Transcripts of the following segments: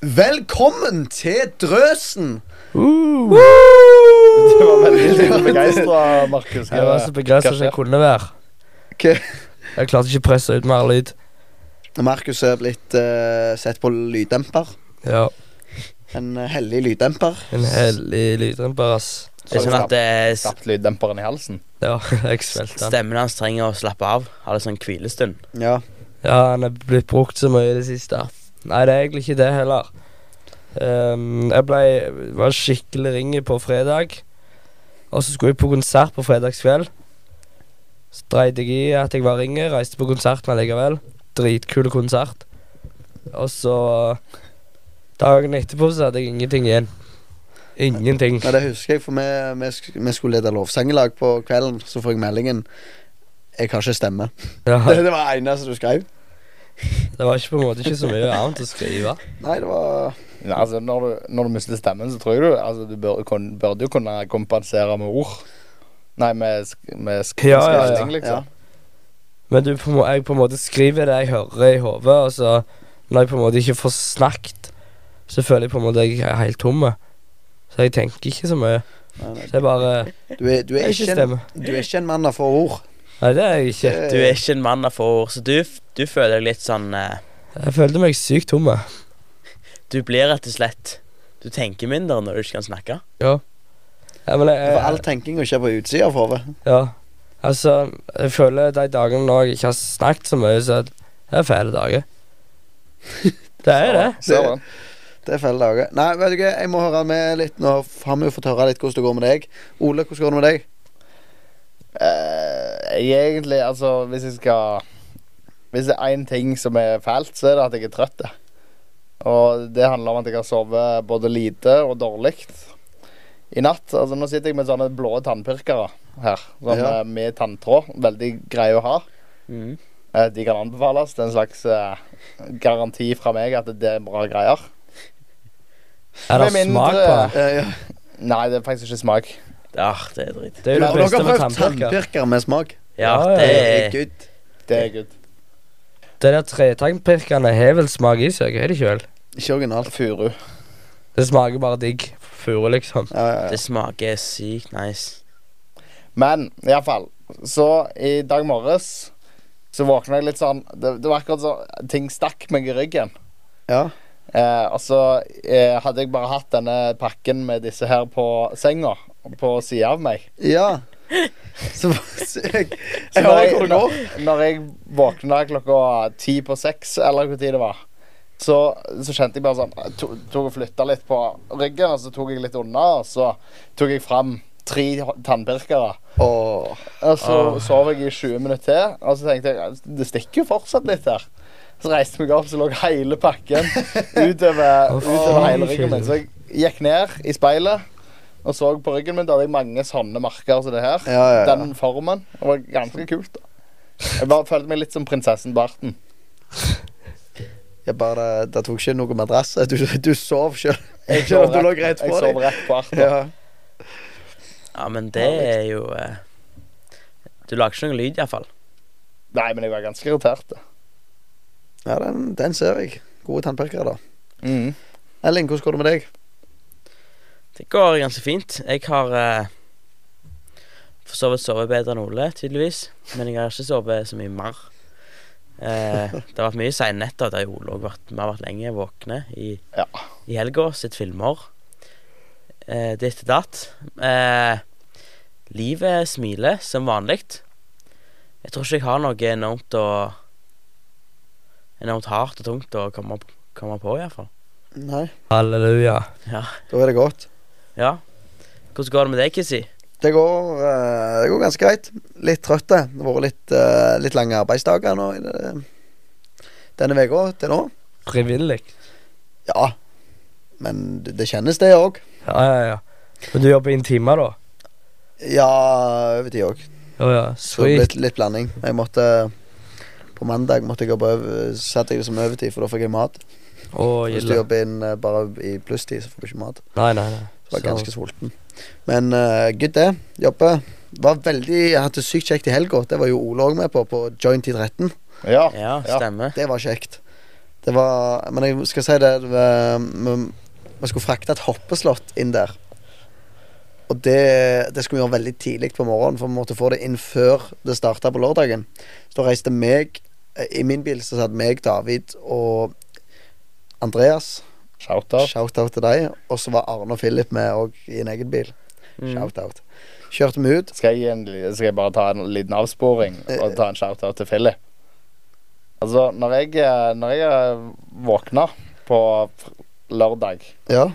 Velkommen til Drøsen! Det var veldig begeistra, Markus. Jeg var så begeistra som jeg kunne være. Ok. Jeg klarte ikke å presse ut mer lyd. Markus er blitt eh, sett på lyddemper. Ja, En eh, hellig lyddemper. En hellig lyddemper, ass. Det er sånn at eh, s- Stappet lyddemperen i halsen. Ja, jeg svelta den. stemmen hans trenger å slappe av. Ha det sånn hvilestund. Ja. Ja, han er blitt brukt så mye i det siste. Nei, det er egentlig ikke det heller. Ehm, jeg ble, var skikkelig ringe på fredag, og så skulle jeg på konsert på fredagskveld. Så dreit jeg i at jeg var ringe, reiste på konserten allikevel. Dritkul konsert. Og så Dagen etterpå så hadde jeg ingenting igjen. Ingenting. Nei, det husker jeg, for vi, vi, sk- vi skulle lede lovsangelag på kvelden. Så får jeg meldingen 'Jeg har ikke stemme'. Ja, Det, det var det eneste du skrev. det var ikke på en måte ikke så mye annet å skrive. Nei, det var Nei, altså, når, du, når du mister stemmen, så tror jeg du altså, Du bør, kon, burde jo kunne kompensere med ord. Nei, med, sk- med sk Ja, ja, ja. skriving, liksom. Men du, på en må- jeg på en måte skriver det jeg hører i hodet, og så når jeg på en måte ikke får snakket, så føler jeg på en måte at jeg er helt tomme. Så jeg tenker ikke så mye. Nei, nei. Så jeg bare Du, er, du, Jeg er ikke ikke en, stemmer. du er ikke en mann av få ord. Nei, det er jeg ikke. Eh. Du er ikke en mann av få ord, så du, f- du føler deg litt sånn eh, Jeg følte meg sykt tomme. Du blir rett og slett Du tenker mindre når du ikke kan snakke. Ja, men jeg, For all jeg, tenkinga skjer på utsida av hodet. ja. Altså, jeg føler de dagene når jeg ikke har snakket så mye, så det er fæle dager. Det er det. Ser du den? Det er felle dager. Nei, vet du hva, jeg må høre med litt. Nå har vi jo fått høre litt hvordan det går med deg. Ole, hvordan går det med deg? Eh, jeg er egentlig, altså, hvis jeg skal Hvis det er én ting som er fælt, så er det at jeg er trøtt. Og det handler om at jeg har sovet både lite og dårlig i natt. Altså, nå sitter jeg med sånne blå tannpirkere her, sånn, Ja. eh, med tanntråd. Veldig greie å ha. Mm. Eh, De kan anbefales. Det er en slags eh, garanti fra meg at det er bra greier. Er det Med mindre- smak på det? Eh, ja. Nei, det er faktisk ikke smak. Ah, det er dritt. Det er Dere jo det har beste med prøvd tannpirker. tannpirker med smak? Ja, Ja, ja, det er Herregud. Det er good. Det der tretangpirkene har vel smak i seg, er det ikke vel? Ikke originalt. Furu. Det smaker bare digg furu, liksom. Ja, ja, ja. Det smaker sykt nice. Men iallfall. Så i dag morges så våkna jeg litt sånn Det, det var akkurat sånn ting stakk meg i ryggen. ja. Eh, og så eh, hadde jeg bare hatt denne pakken med disse her på senga. På sida av meg. ja. Så, så jeg, Så jeg hører hvor det når, går. når, når jeg våkna klokka ti på seks, eller hvor tid det var, så, så kjente jeg bare sånn jeg to- Tok og flytta litt på ryggen, og så tok jeg litt unna, og så tok jeg fram tre tannpirkere. Åh. Og så sov jeg i 20 minutter til, og så tenkte jeg det stikker jo fortsatt litt her. Så reiste jeg meg opp, så lå hele pakken utover, Å, utover hele fy ryggen min. Så jeg gikk ned i speilet og så på ryggen min. Da hadde jeg mange sånne merker som det her. Ja, ja, ja. Den formen. Det var ganske kult. da. Jeg bare følte meg litt som prinsessen Barten. Jeg bare, det tok ikke noe madrass. Du, du sov sjøl. Jeg Selv om sov du lå rett- rett på Jeg deg. sov rett på arten. Ja. Ja, men det er jo eh, Du lager ikke noe lyd, iallfall. Nei, men jeg var ganske irritert. da. ja, den, den ser jeg. Gode tannpirkere, da. Mm. Elling, hvordan går det med deg? Det går ganske fint. Jeg har eh, for så vidt sovet bedre enn Ole, tydeligvis. Men jeg har ikke sovet så mye mer. Eh, det har vært mye seine netter der Ole òg vært Vi har vært lenge våkne i, Ja. i helga, sett filmer. Eh, ditt og datt. Eh, livet smiler som vanlig. Jeg tror ikke jeg har noe enormt å Enormt hardt og tungt å komme, komme på, iallfall. Nei. Halleluja. Da er det godt. Ja. Hvordan går det med deg, Kissy? Det går, eh, det går ganske greit. Litt trøtt. Det Det har vært litt, eh, litt lange arbeidsdager nå i det- denne uka til nå. Frivillig. Ja, men det, det kjennes, det òg. Ja, ja, ja. Men du jobber inn timer, da? Ja, over tid òg. Ja, ja. Så det ble Sweet. litt, litt blanding. Jeg måtte På mandag måtte jeg jobbe over, satte jeg det som overtid, for da fikk jeg mat. Å, Hvis du gilde. jobber inn eh, bare i plusstid, så får du ikke mat. Nei, nei, nei. Så jeg var ganske sulten. Men eh, good, det. Jobber. Var veldig, jeg hadde sykt kjekt i helga. Det var jo Ole òg med på, på Joint i 13. Ja. Ja, Ja. stemmer. Det var kjekt. Det var Men jeg skal si det, det var- vi- Vi skulle frakte et hoppeslott inn der. Og det, det skulle vi gjøre veldig tidlig på morgenen, for vi måtte få det inn før det starta på lørdagen. Så da reiste meg eh, I min bil så satt meg, David og Andreas. Shout-out. Shout-out til deg. Og så var Arne og Philip med òg i en egen bil. Shout-out. Kjørte vi ut. Skal jeg, gi en, li- skal jeg bare ta en liten avsporing og ta en shout-out til Philip? Altså, når jeg, eh, når jeg eh, våkna på fr- lørdag, Ja.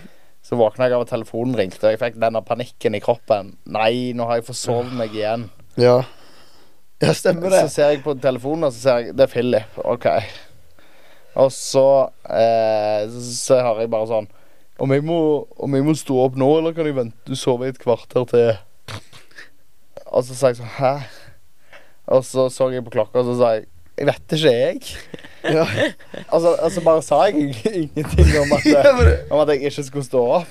så våkna jeg av at telefonen ringte, og jeg fikk denne panikken i kroppen. Nei, nå har jeg forsovet meg igjen. Ja, ja stemmer Så det. ser jeg på telefonen, og så ser jeg Det er Philip. OK. Og så eh, Så hører jeg bare sånn om jeg, må, om jeg må stå opp nå, eller kan jeg vente sove i et kvarter til? Og så sa jeg sånn Hæ? Og så så jeg på klokka, og så sa jeg Jeg vet ikke, jeg. Ja. Og så, og så bare sa jeg ingenting om at, eh, om at jeg ikke skulle stå opp.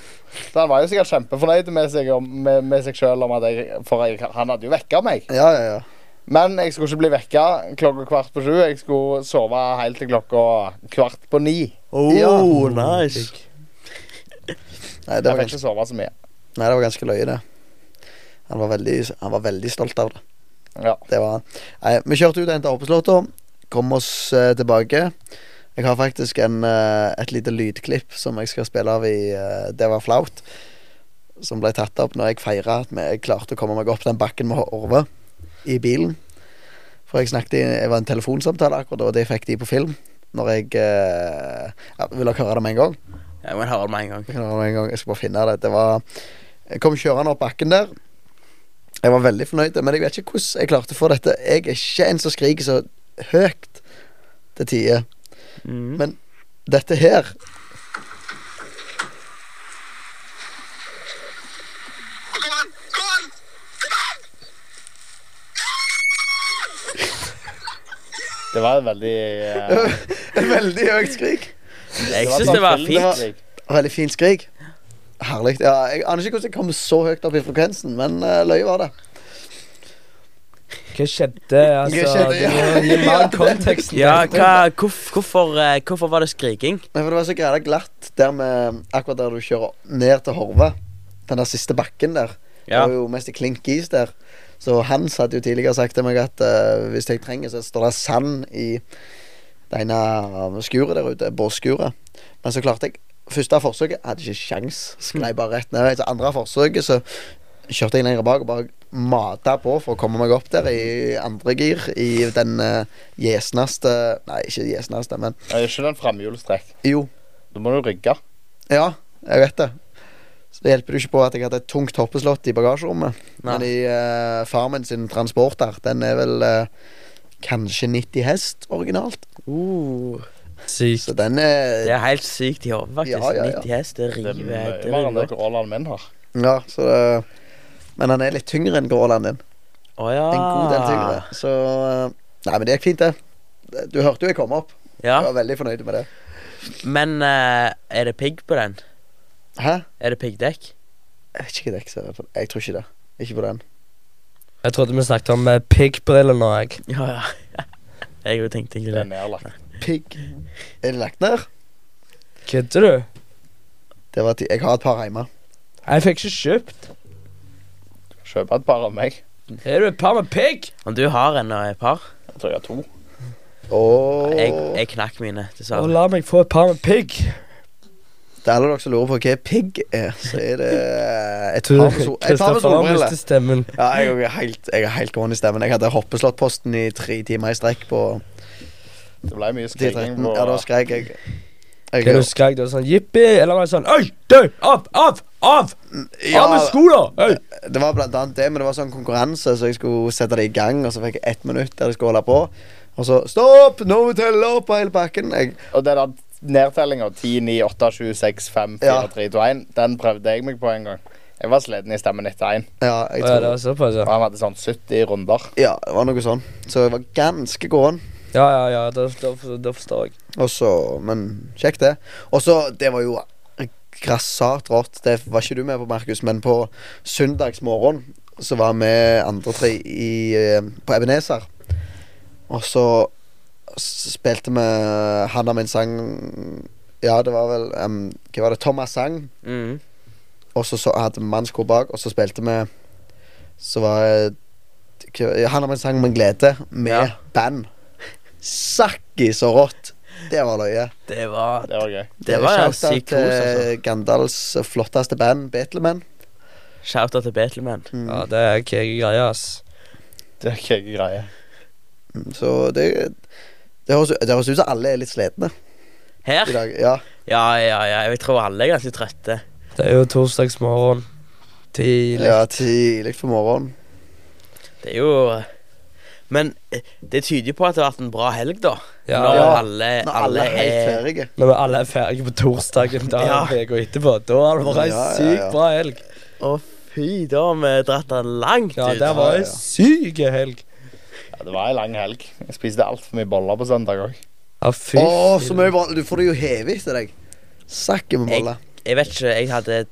Så han var jo sikkert kjempefornøyd med seg, om- med, med seg sjøl, for jeg, han hadde jo vekka meg. Ja, ja, ja. Men jeg skulle ikke bli vekka klokka kvart på sju. Jeg skulle sove helt til klokka kvart på ni. Oh, Ja. nice. Nei, det Jeg var fikk ganske, ikke sove så mye. nei, det var ganske løye, det. Han var, veldig, han var veldig stolt av det. Ja. Det var han. Nei, vi kjørte ut og henta Hoppeslåtta. Kom oss eh, tilbake. Jeg har faktisk en, eh, et lite lydklipp som jeg skal spille av i eh, Det var flaut. Som ble tatt opp når jeg feira at vi- jeg klarte å komme meg opp den bakken med Orve i bilen. For jeg snakket i Jeg var i en telefonsamtale akkurat, og det fikk de på film. Når jeg eh, ja, Vil dere høre det med en gang? Jeg må høre det med en gang. Jeg kan ha det en gang, jeg skal bare finne det. det var, jeg kom kjørende opp bakken der. Jeg var veldig fornøyd, men jeg vet ikke hvordan jeg klarte å få dette. Jeg er ikke en som skriker så høyt til tider. Mm. Men dette her Kom an! Kom an! Det var et veldig eh, Et veldig høyt skrik. Jeg var syns det var sånn fint. filmskrik. Veldig fint skrik. Herlig. Ja, jeg aner ikke hvordan jeg kom så høyt opp i frekvensen, men eh, løye var det. Hva skjedde? Altså, Hva skjedde? Du må gi mer kontekst. Ja, hva, hvorf, hvorfor, eh, hvorfor var det skriking? Nei, for det var så greia glatt der med, akkurat der du kjører ned til Horve. Den der siste bakken der. Det var jo mest i klink is der. Så Hans hadde jo tidligere sagt til meg at eh, hvis jeg trenger, så står det sand i det ene eh, skuret der ute. Båsskuret. Men så klarte jeg Første forsøket hadde jeg ikke sjans Sklei bare rett ned. Så andre forsøket så kjørte jeg lenger bak og bare mata på for å komme meg opp der i andre gir. I den eh, gjesneste Nei, ikke gjesneste, men Det er ikke den framhjulstrekk. jo. Da må du rygge. Ja, jeg vet det. Så Det hjelper jo ikke på at jeg hadde et tungt hoppeslott i bagasjerommet. Men i eh, far min sin transporter, den er vel eh, kanskje 90 hest originalt. Uh, Sykt. Så den er det er helt sykt i hodet, faktisk. Ja, ja, ja. 90 hest, det Det er river. mye Det mer enn det river. Gråland min har. Ja, så eh, Men han er litt tyngre enn Gråland din. Å ja. En god Ah. del tyngre. Så eh, Nei, men det gikk fint, det. Du hørte jo jeg kom opp. Ja. Jeg var veldig fornøyd med det. Men eh, er det pigg på den? Hæ? Er det piggdekk? Jeg vet ikke hva dekk som er på Jeg tror ikke det. Ikke på den. Jeg trodde vi snakket om eh, piggbriller nå. Jeg. Ja, ja. Jeg jo tenkte ikke Det er det. nedlagt. Pigg. Er det lagt ned? Kødder du? Det var ti... Jeg har et par hjemme. Jeg fikk ikke kjøpt. Kjøpe et par av meg. Er du et par med pigg? Men du har en og et par. Jeg tror jeg har to. Åh Jeg, jeg knakk mine, Og dessverre. la meg få et par med pigg. Det er alle dere som lurer på hva pigg er, så er det eh, et par med, sol et par med Kristoffer har solbriller. mistet stemmen. Ja, jeg er helt, jeg er helt gåen i stemmen. Jeg hadde hoppeslåttposten i tre timer i strekk på Det ble mye skriking 10-13. på Ja, da skrek jeg. Hva du jeg skrek da? Sånn jippi? Eller var det sånn Øy, du! Av, av, av! Mm, ja, av med skoene! Øy! det var blant annet det, men det var sånn konkurranse, så jeg skulle sette det i gang, og så fikk jeg ett minutt der jeg skulle holde på. Og så Stopp! Nå må vi telle opp på hele pakken. Jeg, Og den der nedtellinga 10, 9, 8, 7, 6, 5, 4, Ja. 3, 2, 1, den prøvde jeg meg på en gang. Jeg var sliten i stemmen etter én. ja, jeg Ja, det tror, var såpass, Og ja. han hadde sånn 70 runder. ja, det var noe sånn. Så jeg var ganske gåen. Ja, ja, ja, da, da, da forstår jeg. Og så, Men kjekt, det. Og så, det var jo grassat rått. Det var ikke du med på, Markus, men på søndagsmorgen så var vi andre tre i, eh, på Ebenezer. Og så s- spilte vi Han har min sang Ja, det var vel em, Hva var det? Thomas sang, Mm. og så, så hadde vi mannskor bak, og så spilte vi Så var det hva- ja, Han har min sang med glede, med Ja. band. Sakki så rått! Det var løye. Det var Det var gøy. Det var en Eh, Shoutout syk kos, til altså. Gandals flotteste band, Betleman. Shouta til Betleman. Mm. Ja, det er kjeke greier, ass. Det er ikke greie. Så det det høres, det høres ut som alle er litt slitne Her? i dag. Ja, Ja, ja, ja. Jeg tror alle er ganske trøtte. Det er jo torsdagsmorgen. Tidlig. ja tidlig på morgenen. Det er jo Men eh, det tyder jo på at det har vært en bra helg, da. Ja, når ja. Eh, alle, Når alle er helt er ferdige. Når vi alle er ferdige på torsdagen dagen Ja. jeg går etterpå, da har det vært ei Ja, ja, sykt ja. bra helg. Å, fy, da har vi dratt den langt Ja, ut. det var ja, ei ja. syk helg. Ja, det var ei lang helg. Jeg spiste altfor mye boller på søndag òg. Ja, fy Å, så mye bra. Du får det jo hevet til deg. Sakke med boller. Jeg vet ikke, jeg hadde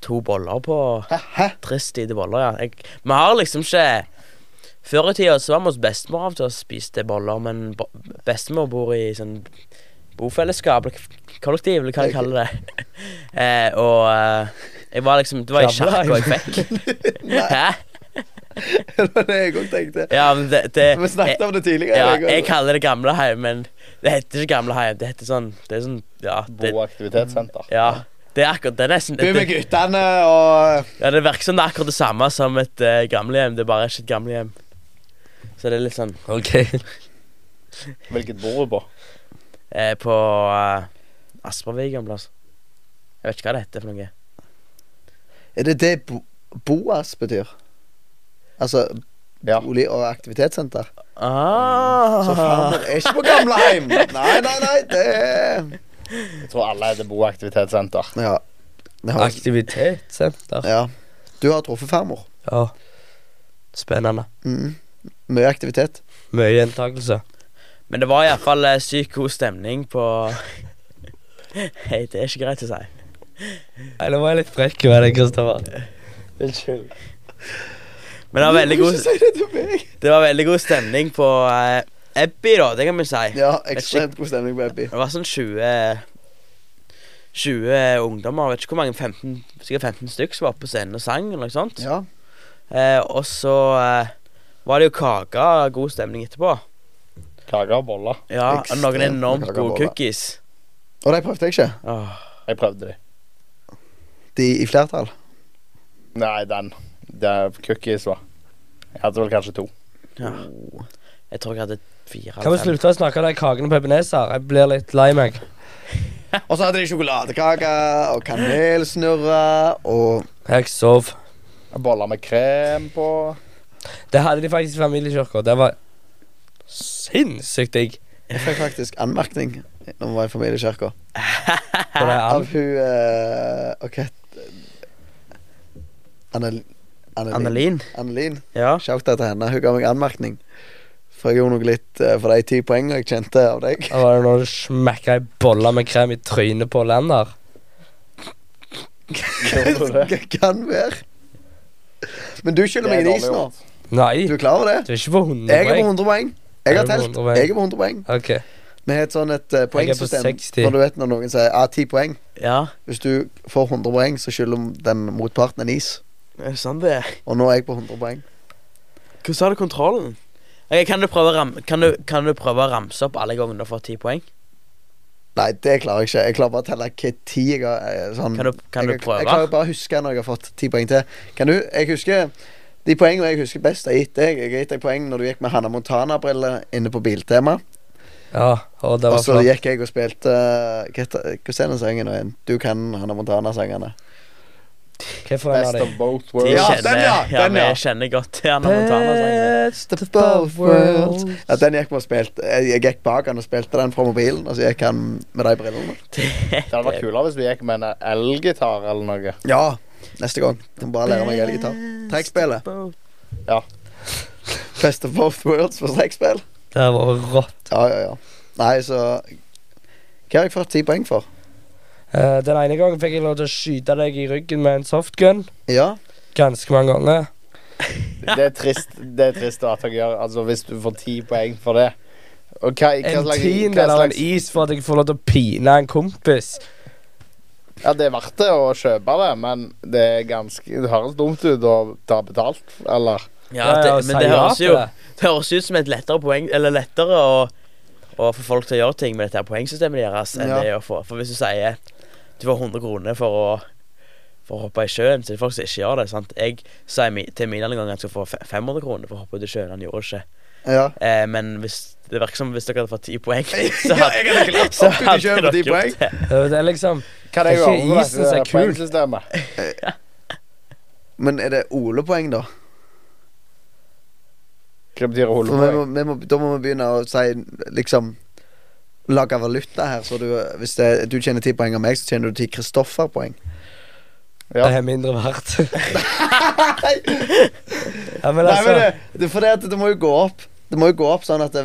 to boller på Hæ? Hæ? Trist lite boller, ja. Jeg, vi har liksom ikke Før i tida så var vi hos bestemor av til å spise boller, men bo- bestemor bor i sånn bofellesskap, eller k- kollektiv, eller hva jeg kaller det. eh, og eh, jeg var liksom Det var i Gamle sjakk, og jeg fikk Hæ? det var det jeg òg tenkte. Ja, men det, det Vi snakket om det jeg, tidligere. Eh, ja, jeg og- jeg kaller det gamleheim, men det heter ikke gamleheim. Det heter sånn Det er sånn Ja. Det, Bo aktivitetssenter. ja, det er akkurat Det er nesten Du det, med guttene og ja, det virker som det er akkurat det samme som et eh, gamlehjem. Det er bare ikke et gamlehjem. Så det er litt sånn OK. Hvilket bor du på? eh, på eh, Asperviken plass. Jeg vet ikke hva det heter for noe. Er det det bo Boas betyr? Altså Ja. bolig- og aktivitetssenter? Ah. Så faen, det er ikke på gamleheim! Nei, nei, nei, det er Jeg tror alle heter Bo aktivitetssenter. Ja. Det har- Aktivitetssenter. ja. Du har truffet farmor. Ja. Spennende. Mm. Mye aktivitet. Mye gjentakelse. Men det var iallfall eh, sykt god stemning på Hei, det er ikke greit å si. Nei, nå var jeg litt frekk med deg, Kristoffer. Unnskyld. Men det var veldig god, si det til meg! det var veldig god stemning på eh, Ebbi, da. Det kan vi si. Ja, ekstremt god stemning på Ebbi. Det var sånn 20 20 ungdommer, vet ikke hvor mange, 15, sikkert 15 stykk som var oppe på scenen og sang. eller noe sånt. Ja. Eh, og så eh, var det jo kake, god stemning etterpå. Kaker og boller. Ja, og Ekstremt noen med enormt kake og gode boller. cookies. Og de prøvde jeg ikke. Åh. Jeg prøvde de. De i flertall. Nei, den. Det er cookies, hva. Jeg hadde vel kanskje to. Ja. Jeg tror jeg hadde fire. Kan vi eller fem. slutte å snakke om de kakene på Ebenezer? Jeg blir litt lei meg. Og så hadde de sjokoladekake og kanelsnurrer og Jeg sov. Boller med krem på. Det hadde de faktisk i familiekirka. Det var sinnssykt digg. Jeg fikk faktisk anmerkning når vi var i familiekirka. På det Av an- hun eh, Hva het Annel- Annelin. Annelin. Annelin. Ja. Ah. Shout-out til henne. Hun ga meg anmerkning. For jeg gjorde noe litt eh, for de ti poengene jeg kjente av deg. Da var det når du smekka ei bolle med krem i trynet på Lander. kan være. Men du skylder meg en is nå. Nei, Du du er klar over det? er ikke på 100 Jeg er på poeng. 100 poeng. Jeg har Er du telt. på 100 poeng? Jeg er på 100 poeng. Ok, Vi har et sånn et eh, poengsystem. 60. Når du vet når noen sier ah, 10 poeng. ja. Hvis du får 100 poeng, så skylder den motparten en is. Det er Sånn det er. Og nå er jeg på 100 poeng. Hvordan har du kontrollen? Ok, kan, du prøve å ram kan, du, kan du prøve å ramse opp alle gangene du har fått ti poeng? Nei, det klarer jeg ikke. Jeg klarer bare å telle hva tid jeg har eh, sånn, Kan du, kan jeg, du Jeg prøve? klarer bare å huske når jeg har fått 10 poeng til. Kan du? Jeg husker de poengene jeg husker best, har jeg gitt deg. Jeg har gitt deg poeng når du gikk med Hanna Montana-briller inne på Biltema. ja, og det Og var så flott. gikk Altså, jeg og spilte eh, Hva heter- hvordan er den sangen nå igjen? Du kan Hanna Montana-sangene. Hvorfor en av Best de? of both De Ja, worlds. den, ja, kjenner, ja, den, vi ja. kjenner godt til Anna Montana. Best of both worlds. Ja, den gikk vi og spilte Jeg jeg gikk bak han og spilte den fra mobilen, og så gikk han med de brillene. Det hadde vært kulere hvis vi gikk med en elgitar eller noe. Ja, neste gang. Jeg må bare lære meg elgitar. Trekkspillet. Best of both worlds for trekkspill. Det her var rått. Ja, ja, ja. Nei, så Hva har jeg fått ti poeng for? Eh, den ene gangen fikk jeg lov til å skyte deg i ryggen med en softgun. Ja, Ganske mange ganger. Det er trist, det er trist at jeg gjør Altså, hvis du får ti poeng for det, Og hva, hva En slags- tiendedel hva av en slags- is for at jeg får lov til å pine en kompis. Ja, det er verdt det å kjøpe det, men det er ganske Det høres dumt ut å ta betalt, eller Ja, det, å men si det ja høres til jo det. Det høres ut som et lettere poeng Eller lettere å, å få folk til å gjøre ting med dette her poengsystemet deres enn Ja. det å få For hvis du sier du får 100 kroner for å For å hoppe i sjøen, så er det folk som ikke gjør det. sant? Jeg sa mi- til Milan en gang at jeg skulle få fe- 500 kroner for å hoppe ut i sjøen. Han gjorde ikke. Ja. Eh, men hvis det virker som hvis dere hadde fått 10 poeng, så Ja, jeg hadde glatt så hoppet ut i hadde sjøen for 10 dere gjort det. Det er liksom Hva Det er ikke med isen som er dette kul. poengsystemet? Men er det Ole-poeng, da? Hva For betyr vi må, holdepoeng? vi må, da må vi begynne å si liksom Lage valuta her, så du Hvis det, du tjener ti poeng av meg, så tjener du ti Kristoffer-poeng. Ja. Det er mindre verdt. ja, men Nei, altså men eh, det, det, for det, at det må jo gå opp. Det må jo gå opp sånn at det,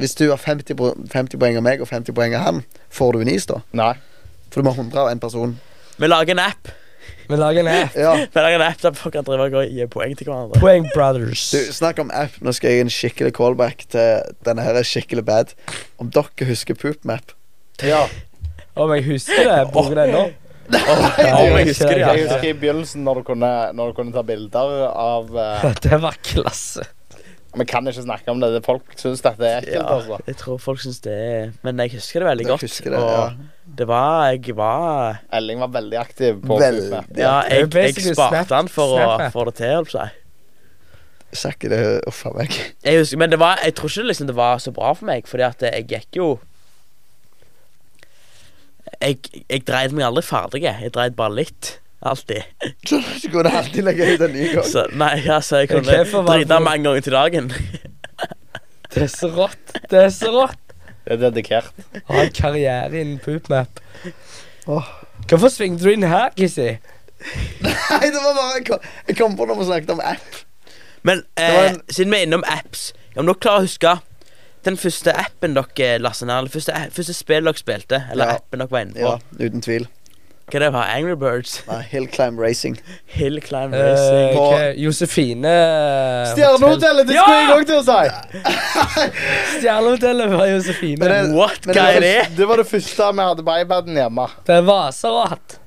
hvis du har 50, pro- 50 poeng av meg og 50 poeng av han, får du en is, da? Nei. For du må ha 100 av en person. Vi lager en app Vi lager en app. Ja, Vi lager en app der folk kan drive og gå og gi poeng til hverandre. Poeng Brothers. du, Snakk om app. Nå skal jeg gi en skikkelig callback til denne her er skikkelig bad. Om dere husker Poopmap? Ja. Om jeg husker det, jeg bruker det nå. Om jeg husker Jeg det, ja. husker i begynnelsen, når du kunne, når du kunne ta bilder av eh, Det var klasse. Vi kan ikke snakke om det. det folk syns dette er ekkelt, Ja, altså. jeg tror folk syns det er Men jeg husker det veldig Dere godt. husker det, og ja. det var Jeg var Elling var veldig aktiv på Veldig. Snap. Ja, Det er jeg, jeg basically sparte Snap- den for å Snapchat. få det til, holdt på å si. Sa ikke det uff a meg. Jeg husker, men det var, jeg tror ikke liksom det var så bra for meg, fordi at jeg gikk jo Jeg, jeg dreide meg aldri ferdig. Jeg dreide bare litt. Alltid. Så du kunne alltid legge ut en ny gang. Så nei, altså, jeg Ok, kunne for hva- drite mange ganger til dagen. Det er så rått. Det er så rått. Det er dedikert. Ha en karriere innen poopmap. Åh. Hvorfor svingte du inn her, Kissy? Nei, det var bare Jeg kom, jeg kom på når vi snakket om app. Men var eh, en- siden vi er innom apps Om dere klarer å huske den første appen dere lastet ned, eller første, a- første spill dere spilte, eller Ja. appen dere var inne på Ja, uten tvil. Hva det var Angry Birds? Nei, Hill Climb Racing. Hill Climb Eh, Racing? På- hva- Josefine eh, Hotel. Stjernehotellet! Det skulle jeg òg til å si! Stjernehotellet var Josefine. Men det- What? Men Hva det er det? Det var det første vi hadde på iPaden hjemme. Det var så rått.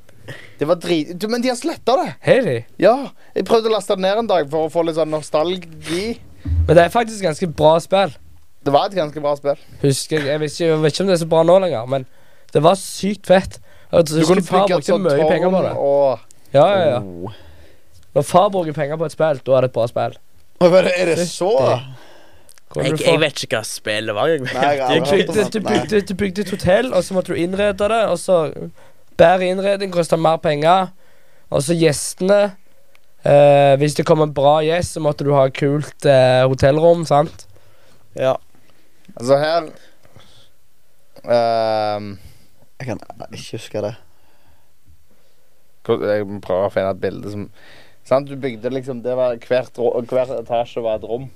Det var drit... Du, men de har sletta det. Hei, de. Ja. Jeg prøvde å laste det ned en dag for å få litt sånn nostalgi. Men det er faktisk ganske bra spill. Det var et ganske bra spill. Husker jeg, jeg, vet ikke, jeg vet ikke om det er så bra nå lenger, men det var sykt fett. Jeg Du husker far brukte mye penger på det. og Ja, ja, ja. Når far bruker penger på et spill, da er det et bra spill. Hva er det, er det så? Hvordan Jeg, du får- jeg vet ikke hva spillet var. Jeg Nei, jeg har Du aldri hørt om bygde, det. du, Nei. bygde, du bygde et hotell, og så måtte du innrede det. Og så Bedre innredning kosta mer penger. Og så gjestene eh, Hvis det kom en bra gjest, så måtte du ha et kult eh, hotellrom, sant? ja. Altså, her Ehm, Jeg kan ikke huske det. hvor- Jeg må prøve å finne et bilde som Sant, du bygde liksom det var hvert, ro- Hver etasje var et rom.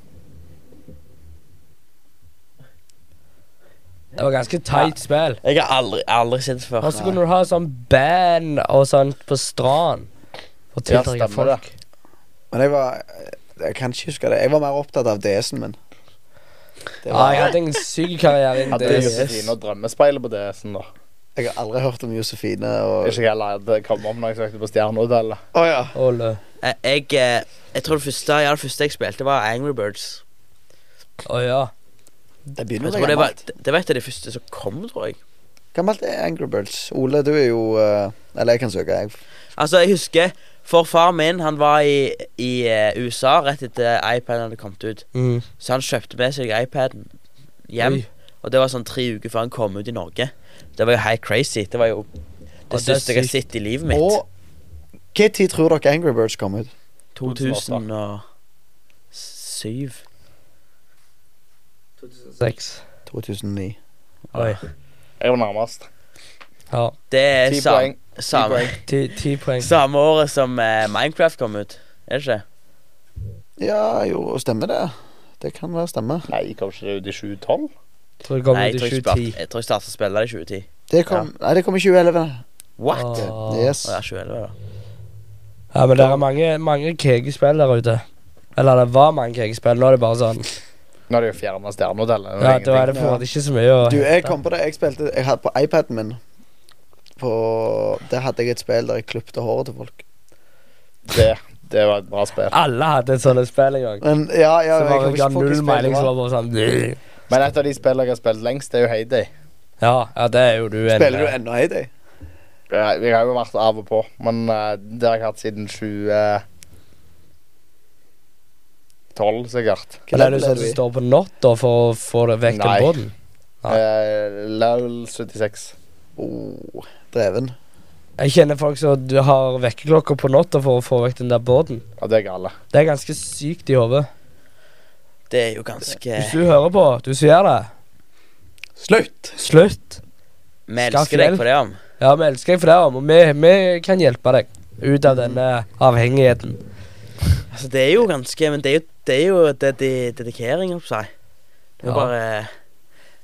Det var ganske tight spill. Jeg har aldri, aldri sett det før. Og så kunne du ha sånn band og sånt på stranden. For å Ja, tiltrekke stemmer det. folk. Men jeg var Jeg kan ikke huske det. Jeg var mer opptatt av DS-en min. Det Ja, var, jeg hadde en syk karriere innen Hadde det. Josefine og drømmespeilet på DS-en, da. jeg har aldri hørt om Josefine og Ikke heller det kom om når jeg søkte på Stjernehotellet. Å ja. Ole. Eh, Jeg, eh, jeg tror det første, ja, det første jeg spilte, var Angry Birds. Å ja. Det Jeg begynner å tror bli det, var, gammelt. det var et av de første som kom, tror jeg. Gammelt er Angry Birds. Ole, du er jo eh, Eller jeg kan søke, jeg. Altså, jeg husker for far min, han var i, i eh, USA rett etter iPaden hadde kommet ut. Mm. Så han kjøpte med seg iPaden hjem. Oi. Og det var sånn tre uker før han kom ut i Norge. Det var jo helt crazy. Det var jo det er det største jeg har sykt. sett i livet mitt. Og hva tid tror dere Angry Birds kom ut? 2007. 6. 2009. Oi. Jeg var nærmest. Ja. Det er Ti sam, poeng. samme, poeng. Ti ti poeng. samme året som eh, Minecraft kom ut. Er det ikke? Ja, jo, stemmer det. Det kan være stemme. Nei, kom ikke det ut i 2012? Tror det kom Nei, ut i jeg tror jeg, 2010. spart- jeg tror jeg startet å spille det i 2010. Det kom, Nei, det kom i 2011. What? Åh. Å Yes. ja, 2011, da. Ja, men det er mange, mange kegespill der ute. Eller det var mange kegespill. Nå er det bare sånn Nå er det jo fjerna stjernehotellet. Ja, da er det på en Ja. måte ikke så mye å Du, jeg hente. kom på det. Jeg spilte Jeg hadde på iPaden min På Der hadde jeg et spill der jeg klipte håret til folk. det, det var et bra spill. Alle hadde et sånt spill en gang. Men ja, ja jeg Så var kommer det ikke ga på hvilket null spill det mening, var. så var det bare sånn "Bleh." Men et av de spillene jeg har spilt lengst, det er jo Heyday. Ja, ja, det er jo du eh, enig Spiller med. du ennå i det? Ja, Vi har jo vært av og på, men eh, det har jeg hatt siden eh, 2012, sikkert. Men er det sånn som står på natta for å få det vekk Nei. den båten? Nei. Eh, Level 76. Oh, dreven. Jeg kjenner folk som du har vekkerklokker på natta for å få vekk den der båten. Ja, det er gale. Det er ganske sykt i hodet. Det er jo ganske Hvis du hører på, du som gjør det, Slutt! slutt. Vi Skaff elsker deg hjelp. for det, om. Ja, vi elsker deg for det, og vi, vi kan hjelpe deg ut av denne avhengigheten. Altså, det er jo ganske Men det er jo, det er jo det, det, dedikering, holdt på å si. Det er jo Ja. bare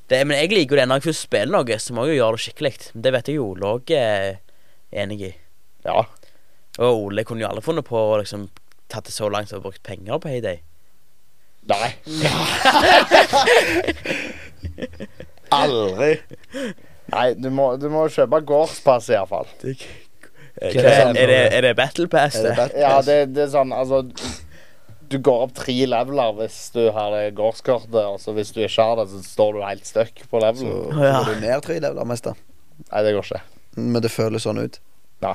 det, Men jeg liker jo det. Når jeg først spiller noe, så må jeg jo gjøre det skikkelig. Det vet jeg jo Ole òg er enig i. Ja. Og Ole kunne jo aldri funnet på å liksom tatt det så langt og brukt penger på Heyday. Nei. Aldri. Nei, du må, du må kjøpe gårdspass, iallfall. Er, Hva er det? er, det, er det Battle Pass, Er det? det Bad Ja, Pass? det, det er sånn, altså Du går opp tre leveler hvis du har det gårdskortet, og så hvis du ikke har det, så står du helt stuck på Så levelen. går Ja. du ned tre leveler mest, da. Nei, det går ikke. Men det føles sånn ut.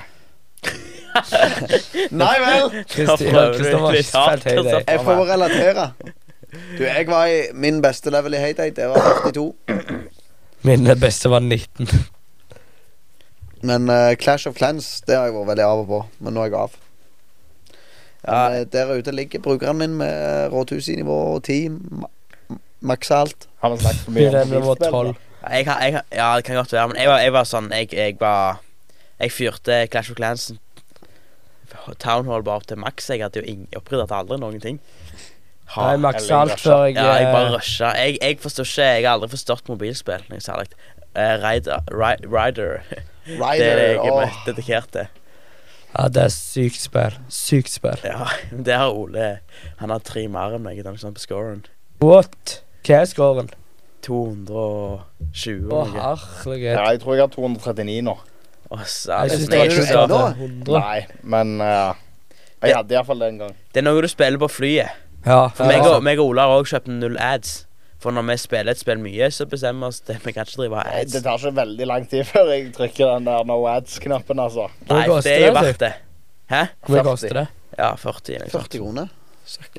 Nei vel! Kristi- Da prøver du Kristoffer har ikke litt spilt hardt, Heyday. altså. Jeg prøver å relatere. Du, jeg var i min beste level i Heyday. Det var 42. Min beste var 19. Men eh, Clash of Clans det har jeg vært veldig av og på. Men nå er jeg av. Ja. Men, eh, der ute ligger brukeren min med råtusenivå og 10, ma ma- maks alt. Har vi snakket for mye Min level var mobilspill, da? 12. Jeg, har- jeg, har- ja, det kan godt være, men jeg var, jeg var sånn Jeg, jeg var Jeg fyrte Clash of Clans Town Hall bare opp til maks. Jeg hadde jo ingen oppryddert aldri noen ting. Nei, Ha- jeg maksa eller alt rusha. før jeg ja, jeg bare eh, rusha. Jeg, jeg forstår ikke Jeg har aldri forstått mobilspill noe særlig. Eh, Rider, ri, rider. Det er det jeg er Åh. mest dedikert til. Ja, det er sykt spill. Sykt spill. Ja, det har Ole. Han har tre mer enn meg eller noe sånt på scoren. What? Hva er scoren? Å, 220 og noe. Ja, herlighet. jeg tror jeg har 239 nå. Å, Jeg satan. syns det det er var jo ikke ennå. så bra. 100. Nei, men eh, Jeg hadde iallfall det en gang. Det er noe du spiller på flyet. Ja, For meg altså. og, meg og Ola har også kjøpt null ads. For når vi spiller et spill mye, så bestemmer vi oss til at vi kan ikke drive og ha Nei, ads. Det tar ikke veldig lang tid før jeg trykker den der no ads-knappen, altså. Nei, Hvor mye for det er koster jo det, verdt det. Hæ? Hvor mye koster det? Ja, 40. eller noe sånt. 40 kroner.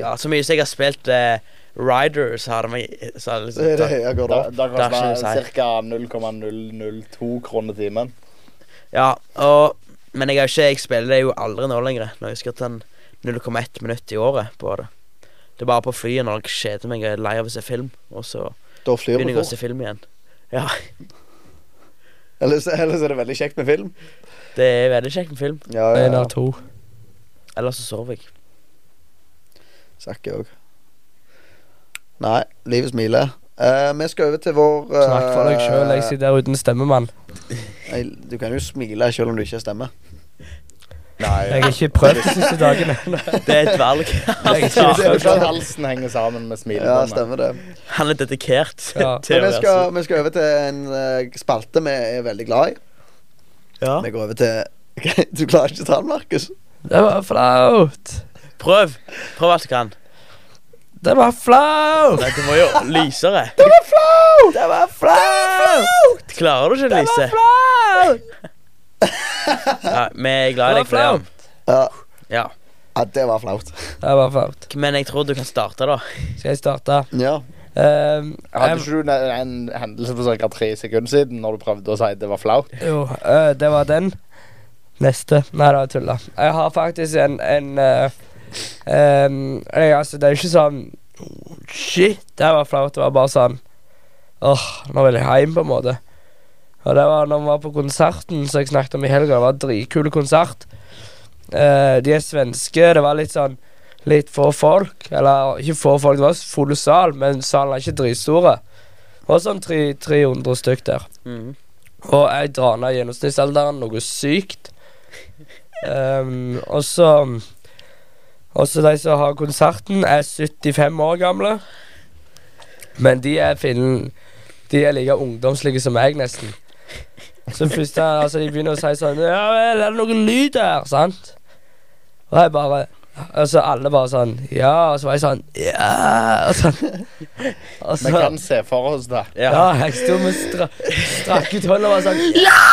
Ja, så mye som jeg har spilt eh, Rider, så har det meg så har det Det er det liksom, jeg går Da, opp. da Det er ikke koster det det ca. 0,002 kroner timen. Ja, og Men jeg har ikke Jeg spiller det jo aldri nå lenger. Nå husker jeg sånn 0,1 minutt i året på det. Det er bare på flyet når jeg kjeder meg og er lei av å se film, og så Da flyr du begynner jeg å fort. se film igjen. Ellers, ellers er det veldig kjekt med film. Det er veldig kjekt med film. Ja, ja, En ja. av to. Ellers så sover jeg. Sakke òg. Nei, livet smiler. Eh, vi skal over til vår eh, Snakk for deg sjøl. Jeg sitter der uten stemme, mann. nei, Du kan jo smile selv om du ikke stemmer. Jeg Nei. har ikke prøvd de siste dagene. Det er et valg. Jeg altså. synes- Selv om halsen henger sammen med Ja, smilebåndet. stemmer det. Han er dedikert Ja. til Men å vi være skal, vi skal over til en eh, spalte vi er veldig glad i. sur. ja. Vi går over til Du klarer ikke å ta den, Markus? Det var flaut. Prøv. Prøv alt du kan. Det var flaut. Nei, du må jo lysere. Det var flaut. Klarer du ikke å Det var lyse? flaut. Ja, vi er glad i Det var deg for det. Jan. Ja. Ja. ja, det var flaut. Det var flaut. Men jeg tror du kan starte, da. Skal jeg starte? Ja. Um, Hadde ikke du en en hendelse for ca. tre sekunder siden når du prøvde å si det var flaut? Jo, øh, det var den. Neste. Nei, da tulla. Jeg har faktisk en, en øh, ehm, jeg, Altså, det er jo ikke sånn Shit, det var flaut. Det var bare sånn Åh, nå vil jeg hjem, på en måte. Og det var når vi var på konserten som jeg snakket om i helga. Det var en dritkul konsert. Eh, de er svenske. Det var litt sånn Litt få folk. Eller ikke få folk, det var full sal, men salen er ikke dritstor. Det var sånn tre- 300 stykk der. Mhm. Og jeg drar ned gjennomsnittsalderen noe sykt. Ehm, og så Og så de som har konserten, er 75 år gamle. Men de er finnen De er like ungdomslige som meg, nesten. Så først da, altså, de begynner å si sånn Ja vel, er det noe lyd her? Sant? Og jeg bare Og så alle bare sånn Ja, og så var jeg sånn Ja Og sånn. Og så, Vi kan se for oss det. Ja. ja, jeg sto med stra strakk ut hånda og var sånn Ja!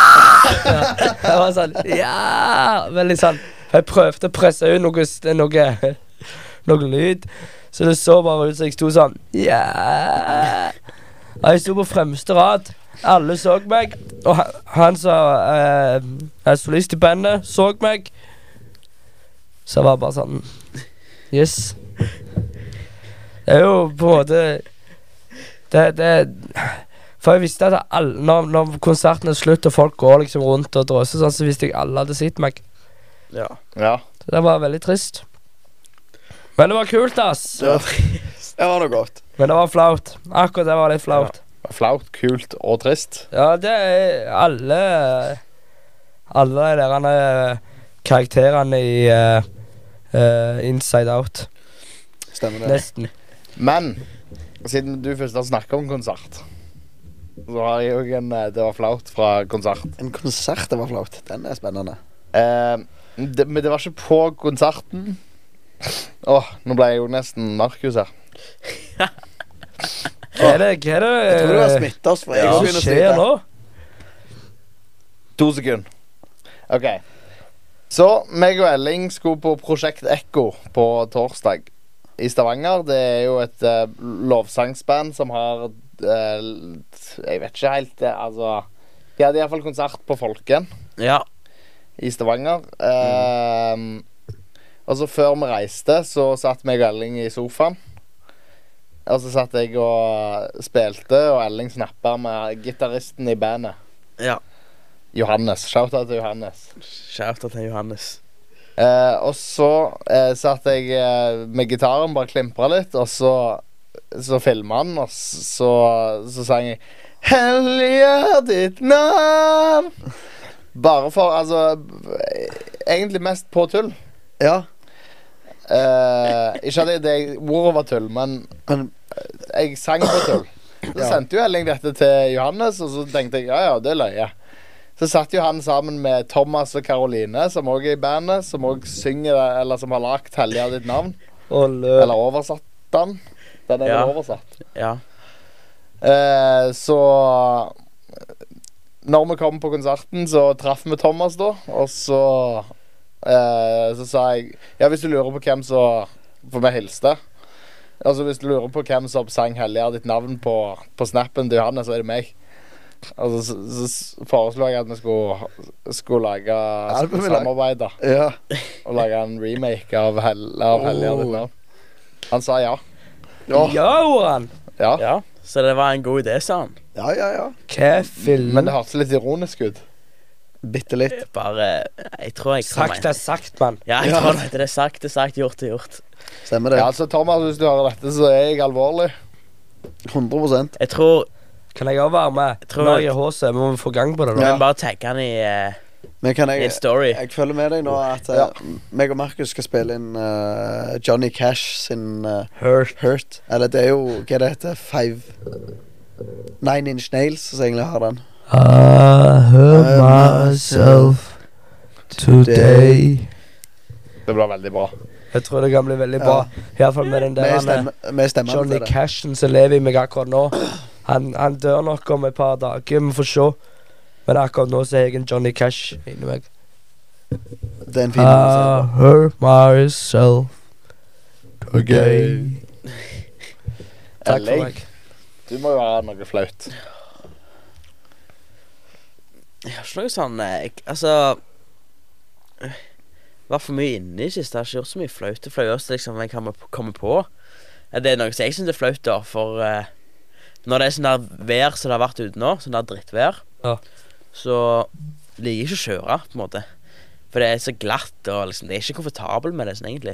Jeg var sånn Ja! Veldig sånn. Jeg prøvde å presse ut noe, s- noe, noe lyd, så det så bare ut som jeg sto sånn Ja! Og jeg sto på fremste rad. Alle så meg, og han, han som eh, er solist i bandet, så meg. Så jeg var bare sånn Yes. Det er jo på en måte det, det For jeg visste at alle, når, når konserten er slutt, og folk går liksom rundt og drøser sånn, så visste jeg alle hadde sett meg. Ja. Ja. Så det var veldig trist. Men det var kult, ass. Det var, det var noe godt. Men det var flaut. Akkurat det var litt flaut. Flaut, kult og trist. Ja, det er alle Alle de der eh, karakterene i eh, eh, Inside Out. Stemmer det. Nesten. Men siden du først har snakket om konsert, så har jeg òg en eh, Det var flaut fra konsert. En konsert det var flaut. Den er spennende. Eh, det, men det var ikke på konserten. Åh, nå ble jeg jo nesten Markus her. Hva er det Hva er det Jeg tror det var eh, smitta oss. for jeg hva også som begynner å skjer slite. nå? To sekunder. OK. Så meg og Elling skulle på Prosjekt Ekko på torsdag i Stavanger. Det er jo et eh, lovsangsband som har eh, Jeg vet ikke helt eh, Altså De hadde iallfall konsert på Folken ja. i Stavanger. Eh, Og så før vi reiste, så satt meg og Elling i sofaen. Og så satt jeg og spilte, og Elling snappa med gitaristen i bandet. ja. Johannes. Shout-out til Johannes. Shout-out til Johannes. Eh, og så eh, satt jeg eh, med gitaren, bare klimpra litt, og så, så filma han, og så, så sang jeg Hellige ditt navn. Bare for Altså Egentlig mest på tull. Ja, Eh, ikke at det- det ordet var tull, men eh, men jeg sang på tull. Så Ja. sendte jo Elling dette til Johannes, og så tenkte jeg ja, ja, det er løye. Så satt jo han sammen med Thomas og Karoline, som òg er i bandet, som òg synger det, eller som har lagd 'Hellig av ditt navn', Å, lø. eller oversatt den. Den er Ja. vel oversatt. Ja. Eh, så eh, Når vi kom på konserten, så traff vi Thomas da, og så eh, Så sa jeg Ja, hvis du lurer på hvem som For vi hilste. Altså, hvis du lurer på hvem som sang 'Hellig er ditt navn' på, på snappen til Johannes, så er det meg. Altså, så, så s- foreslo jeg at vi skulle, skulle lage Albumet lag- samarbeid, da. ja. Og lage en remake av 'Hell- av 'Hellig er ditt Oh. navn'. Han sa ja. Ja, Oran. Ja. ja. Så det var en god idé, sa han. Ja, ja, ja. Hva filmen Men det hørtes litt ironisk ut. Bitte litt. Bare Jeg tror jeg Sagt er sagt, mann. Ja, jeg Ja. tror det er sagt, det er sagt, gjort er gjort. Stemmer det. Ja, altså, Thomas, hvis du hører dette, så er jeg alvorlig. 100 Jeg tror Kan jeg òg være med? Tror Når jeg- jeg er HC, må vi få gang på det. Vi da Ja. må bare tagge han i, eh, Men kan i en jeg story. Jeg følger med deg nå at eh, Ja. meg og Markus skal spille inn eh, Johnny Cash sin eh, Hurt. Hurt. Eller det er jo hva det heter Five Nine Inch Nails som egentlig har den. I hurt hurt myself today. Det blir veldig bra. Jeg tror det kan bli veldig bra. Iallfall med den der Med han, stemme, med eh, stemmen Johnny til det. Cashen som lever i meg akkurat nå. Han, han dør nok om et par dager, vi får se. Men akkurat nå så er jeg en Johnny Cash inni meg. Det er en Ah. fin I hurt myself today. Takk for Elling. meg. Du må jo ha noe flaut. Jeg har ikke noe sånn eh, jeg, Altså øh, Var for mye inne i siste. Jeg har ikke gjort så mye flaut. Det flaueste liksom, jeg kan komme på. Ja, Det er noe som jeg syns er flaut, da. For eh, når det er sånn der vær som det har vært ute nå, sånn der drittvær, Ja. så liker jeg ikke å kjøre, på en måte. For det er så glatt, og liksom, det er ikke komfortabel med det sånn, egentlig.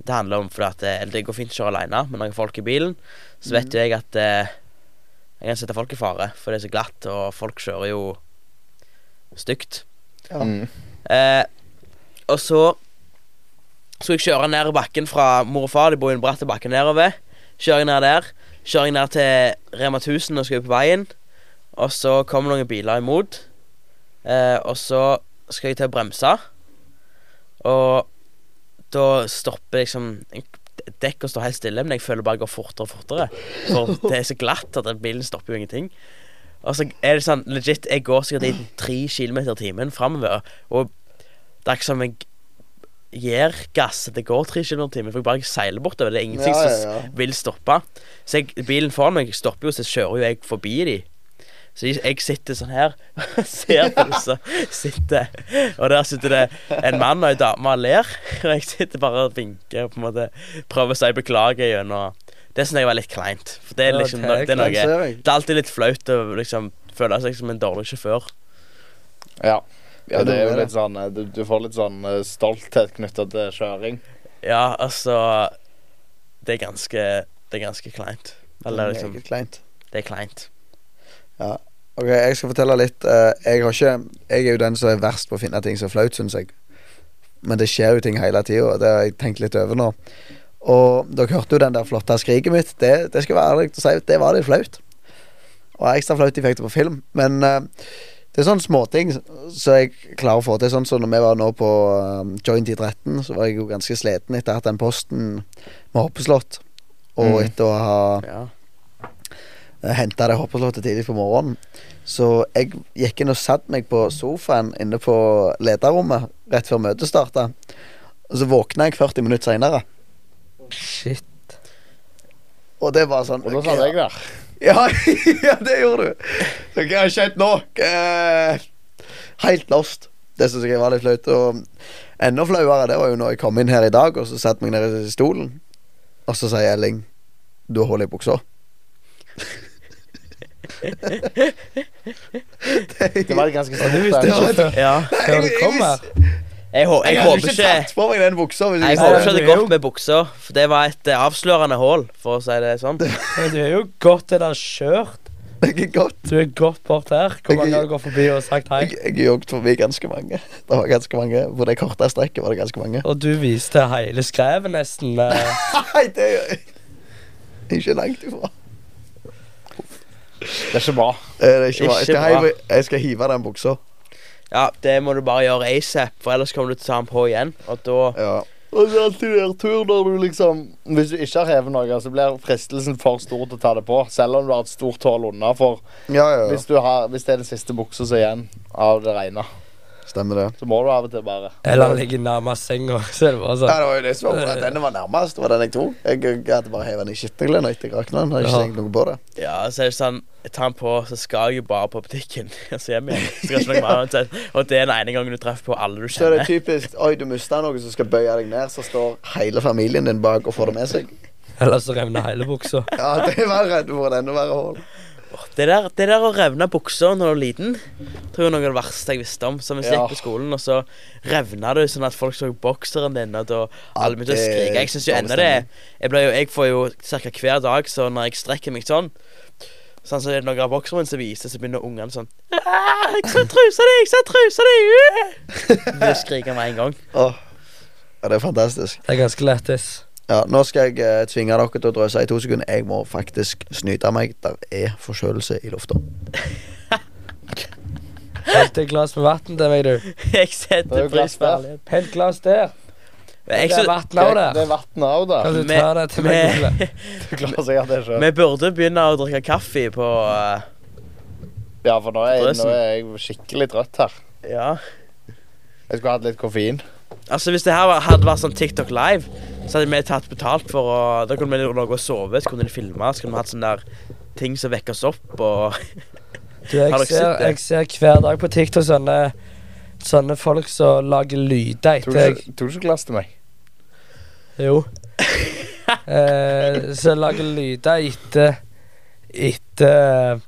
Det handler om fordi at eh, Det går fint å kjøre alene, men når jeg har folk i bilen, så vet jo jeg at eh, jeg kan sette folk i fare, for det er så glatt, og folk kjører jo stygt. Ja. Mm. Eh, og så skulle jeg kjøre ned bakken fra mor og far. De bor i en bratt bakke nedover. Kjører jeg ned der. kjører jeg ned til Rema 1000 og skal ut på veien. Og så kommer noen biler imot. Eh, og så skal jeg til å bremse. Og da stopper liksom Dekket står helt stille, men jeg føler bare jeg går fortere og fortere. For det er så glatt at den bilen stopper jo ingenting. Og så er det sånn legit Jeg går sikkert i tre kilometer i timen framover, og det er ikke som jeg gir gass. Det går tre kilometer i timen, for jeg bare seiler bortover. Det er ingenting Ja, som ja, ja. vil stoppe. Så jeg, bilen foran meg stopper jo, så kjører jo jeg forbi de. Så jeg, jeg sitter sånn her ser på disse. Sitter. Og der sitter det en mann og en dame og ler. Og jeg sitter bare og vinker og på en måte prøver å si beklager gjennom Det syns jeg var litt kleint. For det er Ja, liksom det er det er Den noe ser jeg. Det er alltid litt flaut å liksom føle seg som en dårlig sjåfør. Ja. ja, det er det. jo litt sånn eh, Du, du får litt sånn eh, stolthet knytta til kjøring. Ja, altså Det er ganske Det er ganske kleint. Eller Det er liksom meget kleint. Det er kleint. Ok, jeg skal fortelle litt. eh, Jeg har ikke Jeg er jo den som er verst på å finne ting som er flaut, syns jeg. Men det skjer jo ting hele tida, og det har jeg tenkt litt over nå. Og dere hørte jo den der flotte skriket mitt. Det, det skal jeg være ærlig å si, det var litt flaut. Og ekstra flaut de fikk det på film. Men eh, det er sånne småting som jeg klarer å få til. Sånn som når vi var nå på eh, Joint i 13, så var jeg jo ganske sliten etter å ha hatt den posten med hoppeslott, og Mm. etter å ha Ja. henta det hoppeslottet tidlig på morgenen. Så jeg gikk inn og satte meg på sofaen inne på lederrommet rett før møtet starta. Og så våkna jeg 40 minutter seinere. Shit. Og det var sånn Og da satt jeg der. Ja, ja, det gjorde du. Så hva har skjedd nå? Eh, Helt lost. Det syns jeg var litt flaut. Og enda flauere, det var jo når jeg kom inn her i dag og så satte meg ned i stolen, og så sier Elling Du har hull i buksa. Det var et ganske Og du stort visste eh, Ja, ikke før ja. før du kom her. Jeg, hå- jeg Jeg hadde håper ikke ikke tatt på meg den buksa hvis Nei, jeg Jeg Nei, håper hadde ikke det det er går jo- med buksa, for det var et eh, avslørende hull, for å si det sånn. Men du er jo godt til det er kjørt. Jeg er godt. Du er godt bort her. Hvor mange har du gått forbi og sagt hei? Jeg, jeg joggte forbi ganske mange. Det var ganske mange På det korte strekket var det ganske mange. Og du viste hele skrevet nesten. eh, Nei, det er jo- ikke langt ifra. Det er ikke bra. Eh, Det er ikke bra. Jeg skal, Ikke bra. hive, jeg skal hive den buksa. Ja, det må du bare gjøre asap, for ellers kommer du til å ta den på igjen, og da Ja. Og så er alltid der tur når du liksom Hvis du ikke har hevet noe, så blir fristelsen for stor til å ta det på. Selv om du har et stort hull unna. For ja, ja, ja. hvis, du har, hvis det er den siste buksa som er igjen av det rene, Stemmer det. så må du av og til bare Eller han ligger nærmest senga. Så er det bare Ja, sånn. det var jo det som var bra. Denne var nærmest. Det var den jeg tok. Jeg, jeg hadde bare hevet den i skittenklærne etter jeg rakna den. Hadde ikke Ja. tenkt noe på det. Ja, så er det sånn Jeg tar den på, så skal jeg jo bare på butikken. Og så hjem igjen. Skal ikke noe mer uansett. Og det er den ene gangen du treffer på alle du Så er det kjenner. typisk Oi, du mista noe som skal bøye deg ned, så står hele familien din bak og får det med seg. Eller så revner hele buksa. Ja, det var redd for enda verre hull. Det der, det der å revne buksa når du er liten, tror jeg er noe av det verste jeg visste om. Som hvis jeg Ja. gikk på skolen, og så revna du sånn at folk så bokseren din, og da alle begynte å det er skrike. Jeg syns jo dårlig ennå det Jeg, blir jo, jeg får jo ca. hver dag, så når jeg strekker meg sånn Sånn så er det noen av bokseren min som viser, så begynner ungene sånn «Ah, 'Jeg ser trusa di! Jeg ser trusa di!' Uh!» Begynner å skrike med en gang. Åh. Ja, det er fantastisk. Det er ganske lættis. Ja, nå skal jeg eh, tvinge dere til å drøse i to sekunder. Jeg må faktisk snyte meg. Der er forkjølelse i lufta. Hent et glass med vann til meg, du. Jeg setter jo pris glass på der. ærlighet. Hent glass der. Jeg Det er synes- vann av Det der. er vann av der. Kan du Med- ta det til meg? med- Ole? Du klarer sikkert det sjøl. Vi burde begynne å drikke kaffe på eh, Ja, for nå er, Drøsen. nå er jeg skikkelig trøtt her. Ja. Jeg skulle hatt litt koffein. Altså, hvis det her var- hadde vært sånn TikTok live, så hadde vi tatt betalt for å Da kunne vi ligge og sove, så kunne de filme, så kunne vi hatt sånne der ting som vekker oss opp og Du, Har dere jeg, sett ser, det? jeg ser hver dag på TikTok sånne, sånne folk som lager lyder Tok etter du jeg ikke- tok du ikke glass til meg? Jo. Eh, så jeg lager lyder etter Etter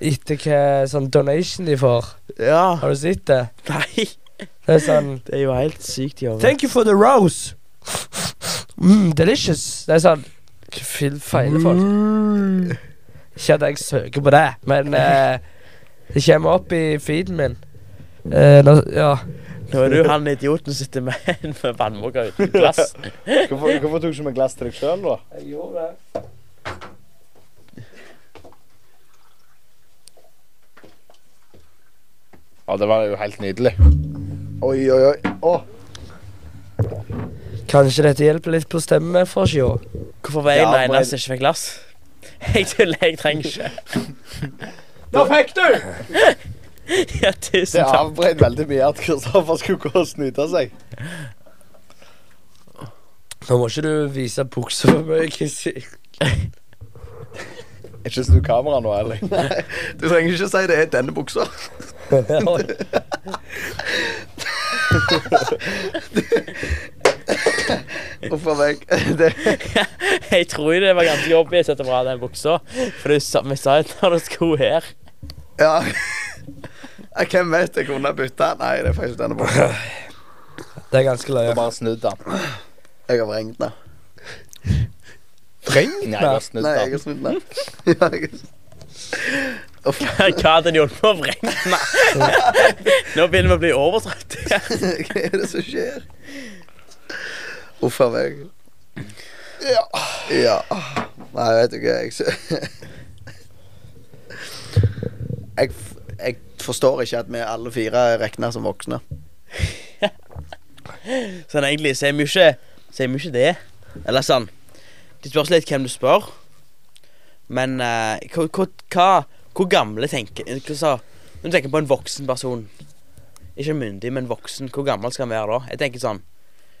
Etter hva sånn donation de får. Ja. Har du sett det? Nei. Det er sånn Det er jo helt sykt i hodet. Thank you for the rose. Mm, delicious. Det er sånn Hva fil- feiler folk? Ikke at jeg søker på det, men eh, det kommer opp i feeden min. Eh, nå, ja. Nå er du han idioten som sitter med en vannmugger uten glass. Hvorfor, hvorfor tok du ikke med glass til deg sjøl, da? Jeg gjorde det. Ja, det var jo helt nydelig. Oi, oi, oi. Å, Kanskje dette hjelper litt på stemmen for å se. Hvorfor var jeg Ja, den men- eneste som ikke fikk glass? Jeg tuller, jeg trenger ikke. Nå fikk du! Ja, Det tusen takk. avbrøt veldig mye at Kristoffer skulle gå og snyte seg. Nå må ikke du vise buksa for meg, Chrissy. Ikke snu kameraet nå, heller. du trenger ikke si det er denne buksa. Oi, Uff a meg. Det, Jeg tror jo det var ganske jobbig å sette bra den buksa. For du sa, vi sa jo når du skulle her. ja. Ja, Hvem vet? Jeg kunne ha bytta. Nei, det er faktisk denne buksa. Det er ganske løye. Og bare snudd den. Jeg har vrengt den. Vreng? Nei, jeg har snudd Nei, jeg den. har snudd den. Ja, jeg har- Uff. Hva hadde de hjulpet med å vrenge meg? Nå begynner vi å bli overtrøtte. Hva er det som skjer? Uff a meg. Ja. ja. Nei, vet du hva Jeg, sy- jeg, f- jeg forstår ikke at vi alle fire er regna som voksne. Sånn egentlig sier vi jo ikke Sier vi jo ikke det. Eller sånn Det spørs litt hvem du spør. Men eh, hva, hva, hva Hvor gamle tenker eh, hva sa, Når du tenker på en voksen person Ikke en myndig, men voksen. Hvor gammel skal han være da? Jeg tenker sånn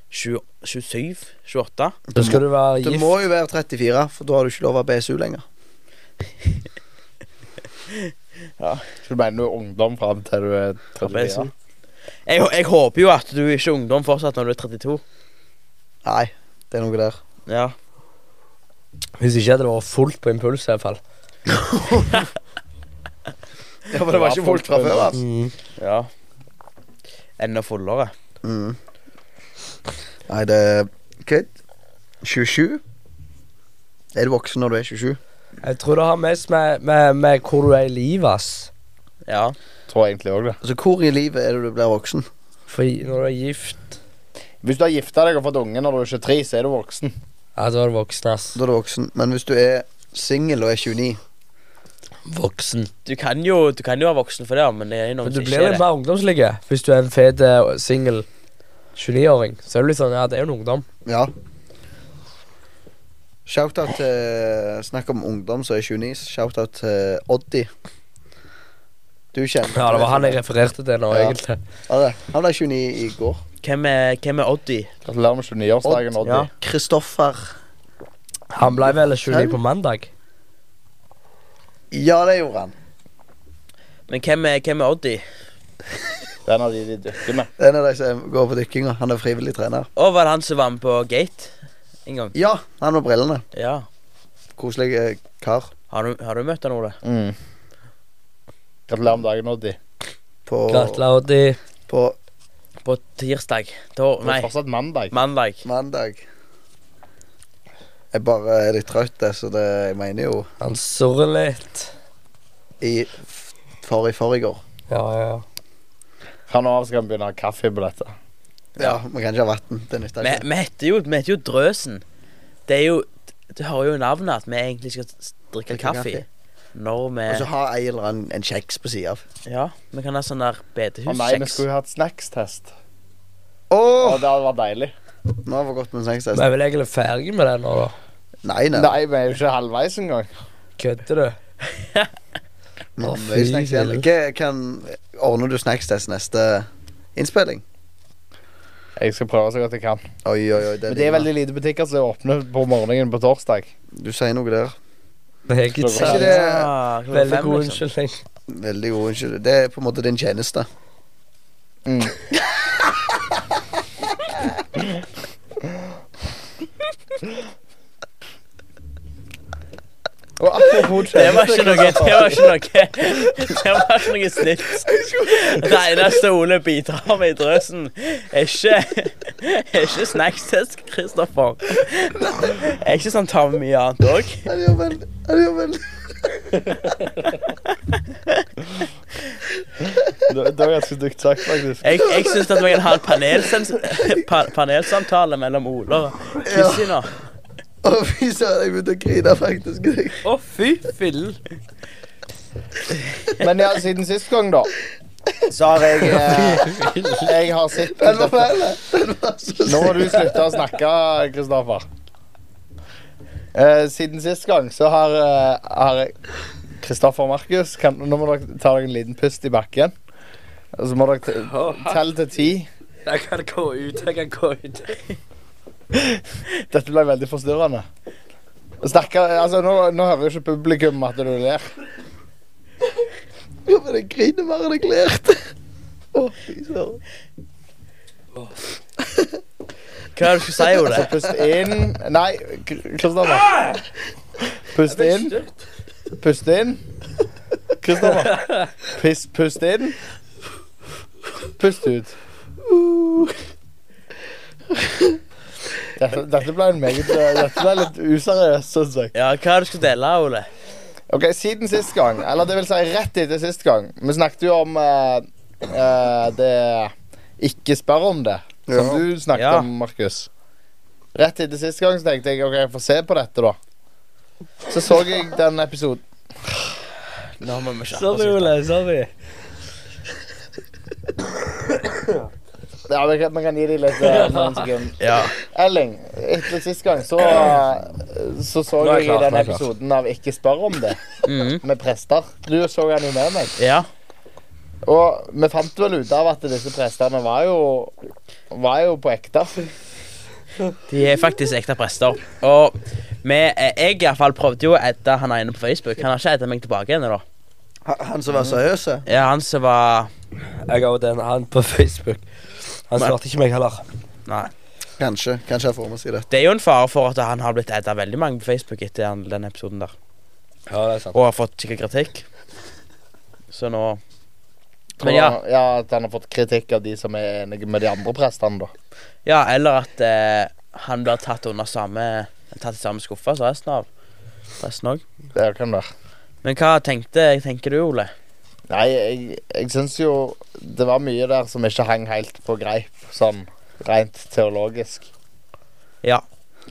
20, 27? 28? Da skal du være Du gift. må jo være 34, for da har du ikke lov av BSU lenger. Så du mener du er ungdom fram til du er 34? Jeg, jeg håper jo at du ikke er ungdom fortsatt når du er 32. Nei, det er noe der. Ja Hvis ikke hadde det vært fullt på impuls, i hvert fall. Ja, For det var ikke folk fra før, altså. Mm. Ja. Enda fullere. Mm. Nei, det er Kødd. 27? Er du voksen når du er 27? Jeg tror det har mest med, med, med hvor du er i livet, ass. Ja. Tror jeg egentlig også det. Altså, hvor i livet er det du blir voksen? For i- når du er gift Hvis du har gifta deg og fått unge når du er 23, så er du voksen. Ja, da er du voksen, ass. Da er du voksen. Men hvis du er singel og er 29 Voksen. Du kan jo, du kan jo være voksen for det, men det er jo Men noen du som ikke blir er litt det. mer ungdomslig hvis du er en fet eh, singel 29-åring. Så er du litt sånn Ja, det er jo en ungdom. Ja. Shoutout til Snakk om ungdom som er 29. Shoutout til Oddi. Du kjenner Ja, det var han jeg refererte til nå, Ja. egentlig. Ja, det. Han ble 29 i går. Hvem er, hvem er Oddi? Gratulerer med 29-årsdagen, Oddi. Ja. Kristoffer. Han ble vel 29 på mandag. Ja, det gjorde han. Men hvem er, hvem er Oddi? Det er en av de de dykker med. Det er en av de som går på dykkinga. Han er frivillig trener. Å, var det han som var med på Gate en gang? Ja, han med brillene. Ja. Koselig eh, kar. Har du, har du møtt han, Ole? Mm. Gratulerer med dagen, Oddi. På, Gratulerer, Oddi. på På tirsdag? Da, Det nei, er fortsatt mandag. mandag. mandag. Jeg bare er litt trøtt, eh, så det jeg mener jo Han surrer litt. i f- forrige forrige år. Ja, ja. Fra nå av skal vi begynne å ha kaffe på dette. Ja, vi kan ikke ha vann. Det nytter Vi ikke. vi heter jo, vi heter jo Drøsen. Det er jo Du hører jo i navnet at vi egentlig skal s- drikke Drikke kaffe. kaffe. Når Og så vi har ei eller annen en kjeks på sida av. Ja, vi kan ha sånn der Å nei, vi bedehuskjeks. skulle jo hatt snackstest. Å, Åh! det hadde vært deilig. Nå har vi gått med en Vi sangstest. er vel egentlig ferdig med det nå, da. Nei, nei. Nei, vi er jo ikke halvveis engang. Kødder du? Vi har Å, mye fy snacks igjen. helvete. Hva- kan- Ordner du snackstest neste innspilling? Jeg skal prøve så godt jeg kan. Oi, oi, oi. Det Men er det er dine. veldig lite butikker som er åpne på morgenen på torsdag. Du sier noe der. Jeg er ikke Ikke det- sant. Ah, klokka Veldig fem, god liksom. unnskyldning. Veldig god unnskyld. Det er på en måte din tjeneste. Mm. Og apropos Det var ikke tjeneste, noe Det var ikke noe Det var ikke noe snilt. Det eneste Ole bidrar med i drøsen, er ikke Er ikke snackstest, Kristoffer. Er ikke sånn tar med mye annet òg. Han gjør vel Han gjør vel det det var ganske dykt sagt, faktisk. Jeg, jeg syns at vi kan ha en panelsens- pa, panelsamtale mellom Ole og Kristina. Å, Å, fy søren, jeg begynte å grine, faktisk. Jeg- fy fillen. Men ja, siden sist gang, da. Så har jeg eh, Jeg har sett Den var fæl! Den var så Nå må du syk. slutte å snakke, Kristoffer. Eh, siden sist gang så har, eh, har jeg Kristoffer og Markus, kan, nå må dere ta dere en liten pust i bakken. Og så må dere te- telle til ti. Jeg kan gå ut, jeg kan gå ut. Dette ble veldig forstyrrende. Snakke, altså nå, nå hører jo ikke publikum at du ler. Ja, men jeg griner mer enn jeg lærte. Å, fy søren. Hva er det du skulle si, Ole? Så Altså, pust inn Nei, Kr- Kristoffer. Pust inn. Pust inn. Kristoffer. Piss, pust inn. Pust ut. Dette, dette ble en meget Dette ble litt useriøst, syns jeg. Ja, hva er det du skulle dele, Ole? Ok, Siden sist gang, eller det vil si rett etter sist gang Vi snakket jo om eh, eh, det Ikke spør om det, som Ja. du snakket Ja. om, Markus. Rett etter sist gang så tenkte jeg ok, jeg får se på dette, da. Så så jeg den episoden Nå må vi kjappe oss Sorry, litt. Ole. Sorry. Ja, vi kan, vi kan gi dem litt eh, noen sekunder. Ja. Elling, etter sist gang så eh, Så så Nå er jeg jeg klar, nå er den jeg klar. episoden av Ikke spør om det, Mhm. med prester. Du så den jo med meg. ja. Og vi fant vel ut av at disse prestene var jo Var jo på ekte. De er faktisk ekte prester. Og vi, eh, jeg i hvert fall prøvde jo å edde han ene på Facebook. Han har ikke edda meg tilbake ennå, da. Han- Han som var seriøs? Ja, han som var Jeg har jo den han på Facebook. Han Men- svarte ikke meg heller. Nei. Kanskje. Kanskje jeg får med å si det. Det er jo en fare for at han har blitt edda veldig mange på Facebook etter han, den episoden der. Ja, det er sant. Og har fått skikkelig kritikk. Så nå Men ja. ja, At han har fått kritikk av de som er enige med de andre prestene, da. Ja, eller at eh, han blir tatt under samme Tatt i samme skuffa som resten av resten òg. Det kan være. Men hva tenkte tenker du, Ole? Nei, jeg, jeg syns jo det var mye der som ikke hang helt på greip, sånn rent teologisk. Ja.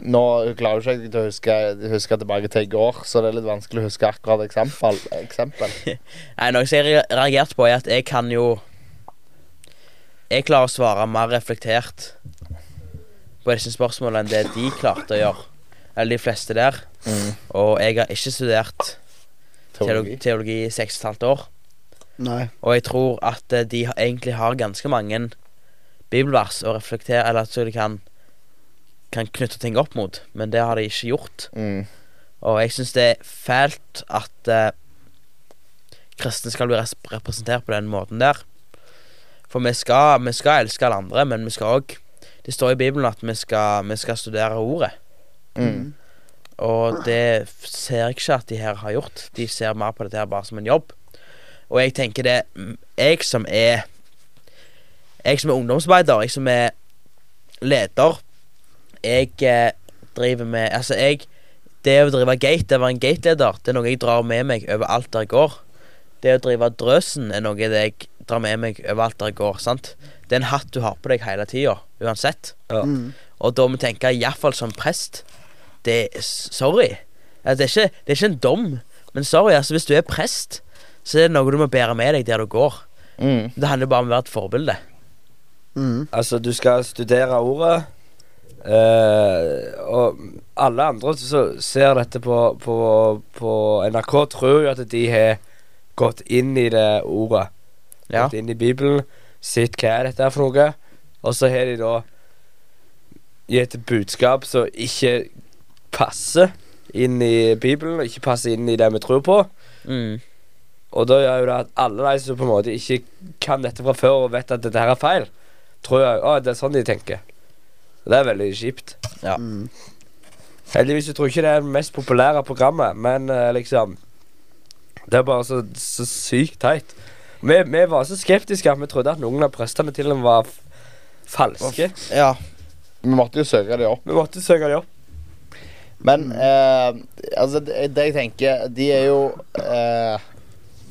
Nå klarer jo ikke jeg til å huske, huske tilbake til i går, så det er litt vanskelig å huske akkurat eksempel. eksempel. Nei, Noe som jeg har reagert på, er at jeg kan jo Jeg klarer å svare mer reflektert på disse spørsmålene enn det de klarte å gjøre. Eller de fleste der. Og jeg har ikke studert teologi, Teologi. teologi i seks og et halvt år. Nei. Og jeg tror at eh, de har- egentlig har ganske mange bibelvers å reflektere Eller at så de kan, kan knytte ting opp mot, men det har de ikke gjort. Mm. Og jeg syns det er fælt at eh, kristne skal bli res- representert på den måten der. For vi skal, vi skal elske alle andre, men vi skal òg Det står i Bibelen at vi skal, vi skal studere Ordet. Mm. Og det f- ser jeg ikke at de her har gjort. De ser mer på dette her bare som en jobb. Og jeg tenker det mm, Jeg som er Jeg som er ungdomsarbeider, jeg som er leder Jeg eh, driver med Altså, jeg Det å drive gate, det å være en gateleder, det er noe jeg drar med meg overalt der jeg går. Det å drive drøsen er noe det jeg drar med meg overalt der jeg går. sant? Det er en hatt du har på deg hele tida, uansett. Ja. Mm. Og da må vi tenke, iallfall som prest Det er Sorry. Altså, Det er, ikke, det er ikke en dom, men sorry, altså hvis du er prest, så er det noe du må bære med deg der du går. Mm. Det handler bare om å være et forbilde. Mm. Altså, du skal studere ordet. eh, og alle andre som ser dette på, på, på NRK, tror jo at de har gått inn i det ordet. Ja. Gått inn i Bibelen, sett hva er dette er for noe. Og så har de da gitt et budskap som ikke passer inn i Bibelen, og ikke passer inn i det vi tror på. Mm. Og da gjør jo det at alle de som på en måte ikke kan dette fra før og vet at dette her er feil, tror jeg å, det er sånn de tenker. Og det er veldig kjipt. Mm. Heldigvis så tror jeg ikke det er det mest populære programmet, men eh, liksom Det er bare så, så sykt teit. Vi, vi var så skeptiske at vi trodde at noen av prestene til og med var f falske. Ja. Vi måtte jo søke det opp. Vi måtte søke dem opp. Men eh, altså, det, det jeg tenker De er jo eh,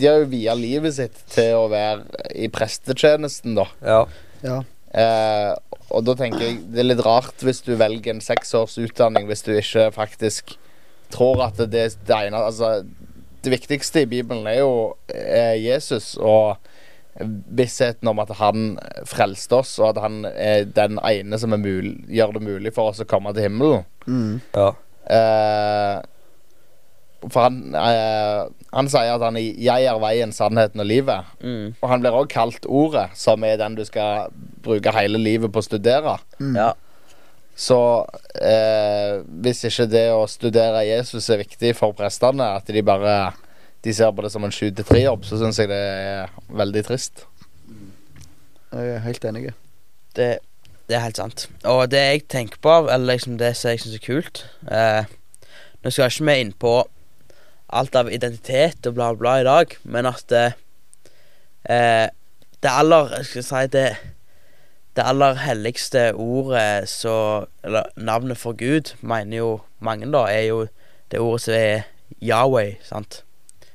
De har jo via livet sitt til å være i prestetjenesten, da. Ja. Ja. Eh, og da tenker jeg det er litt rart hvis du velger en seksårs utdanning hvis du ikke faktisk tror at det er det ene Altså, det viktigste i Bibelen er jo eh, Jesus og vissheten om at han frelste oss, og at han er den ene som er mul gjør det mulig for oss å komme til himmelen. Mm. Ja. Eh, for han, eh, han sier at han er 'jeg er veien, sannheten og livet'. Mm. Og han blir også kalt Ordet, som er den du skal bruke hele livet på å studere. Mm. Ja. Så eh, hvis ikke det å studere Jesus er viktig for prestene, at de bare de ser på det som en sju til tre-jobb, så syns jeg det er veldig trist. Jeg er helt enig. Det, det er helt sant. Og det jeg tenker på, eller liksom det som jeg syns er kult eh, Nå skal ikke vi inn på alt av identitet og bla, bla i dag, men at eh, eh, Det aller jeg skal si det det aller helligste ordet så Eller navnet for Gud, mener jo mange, da, er jo det ordet som er Yahweh, sant?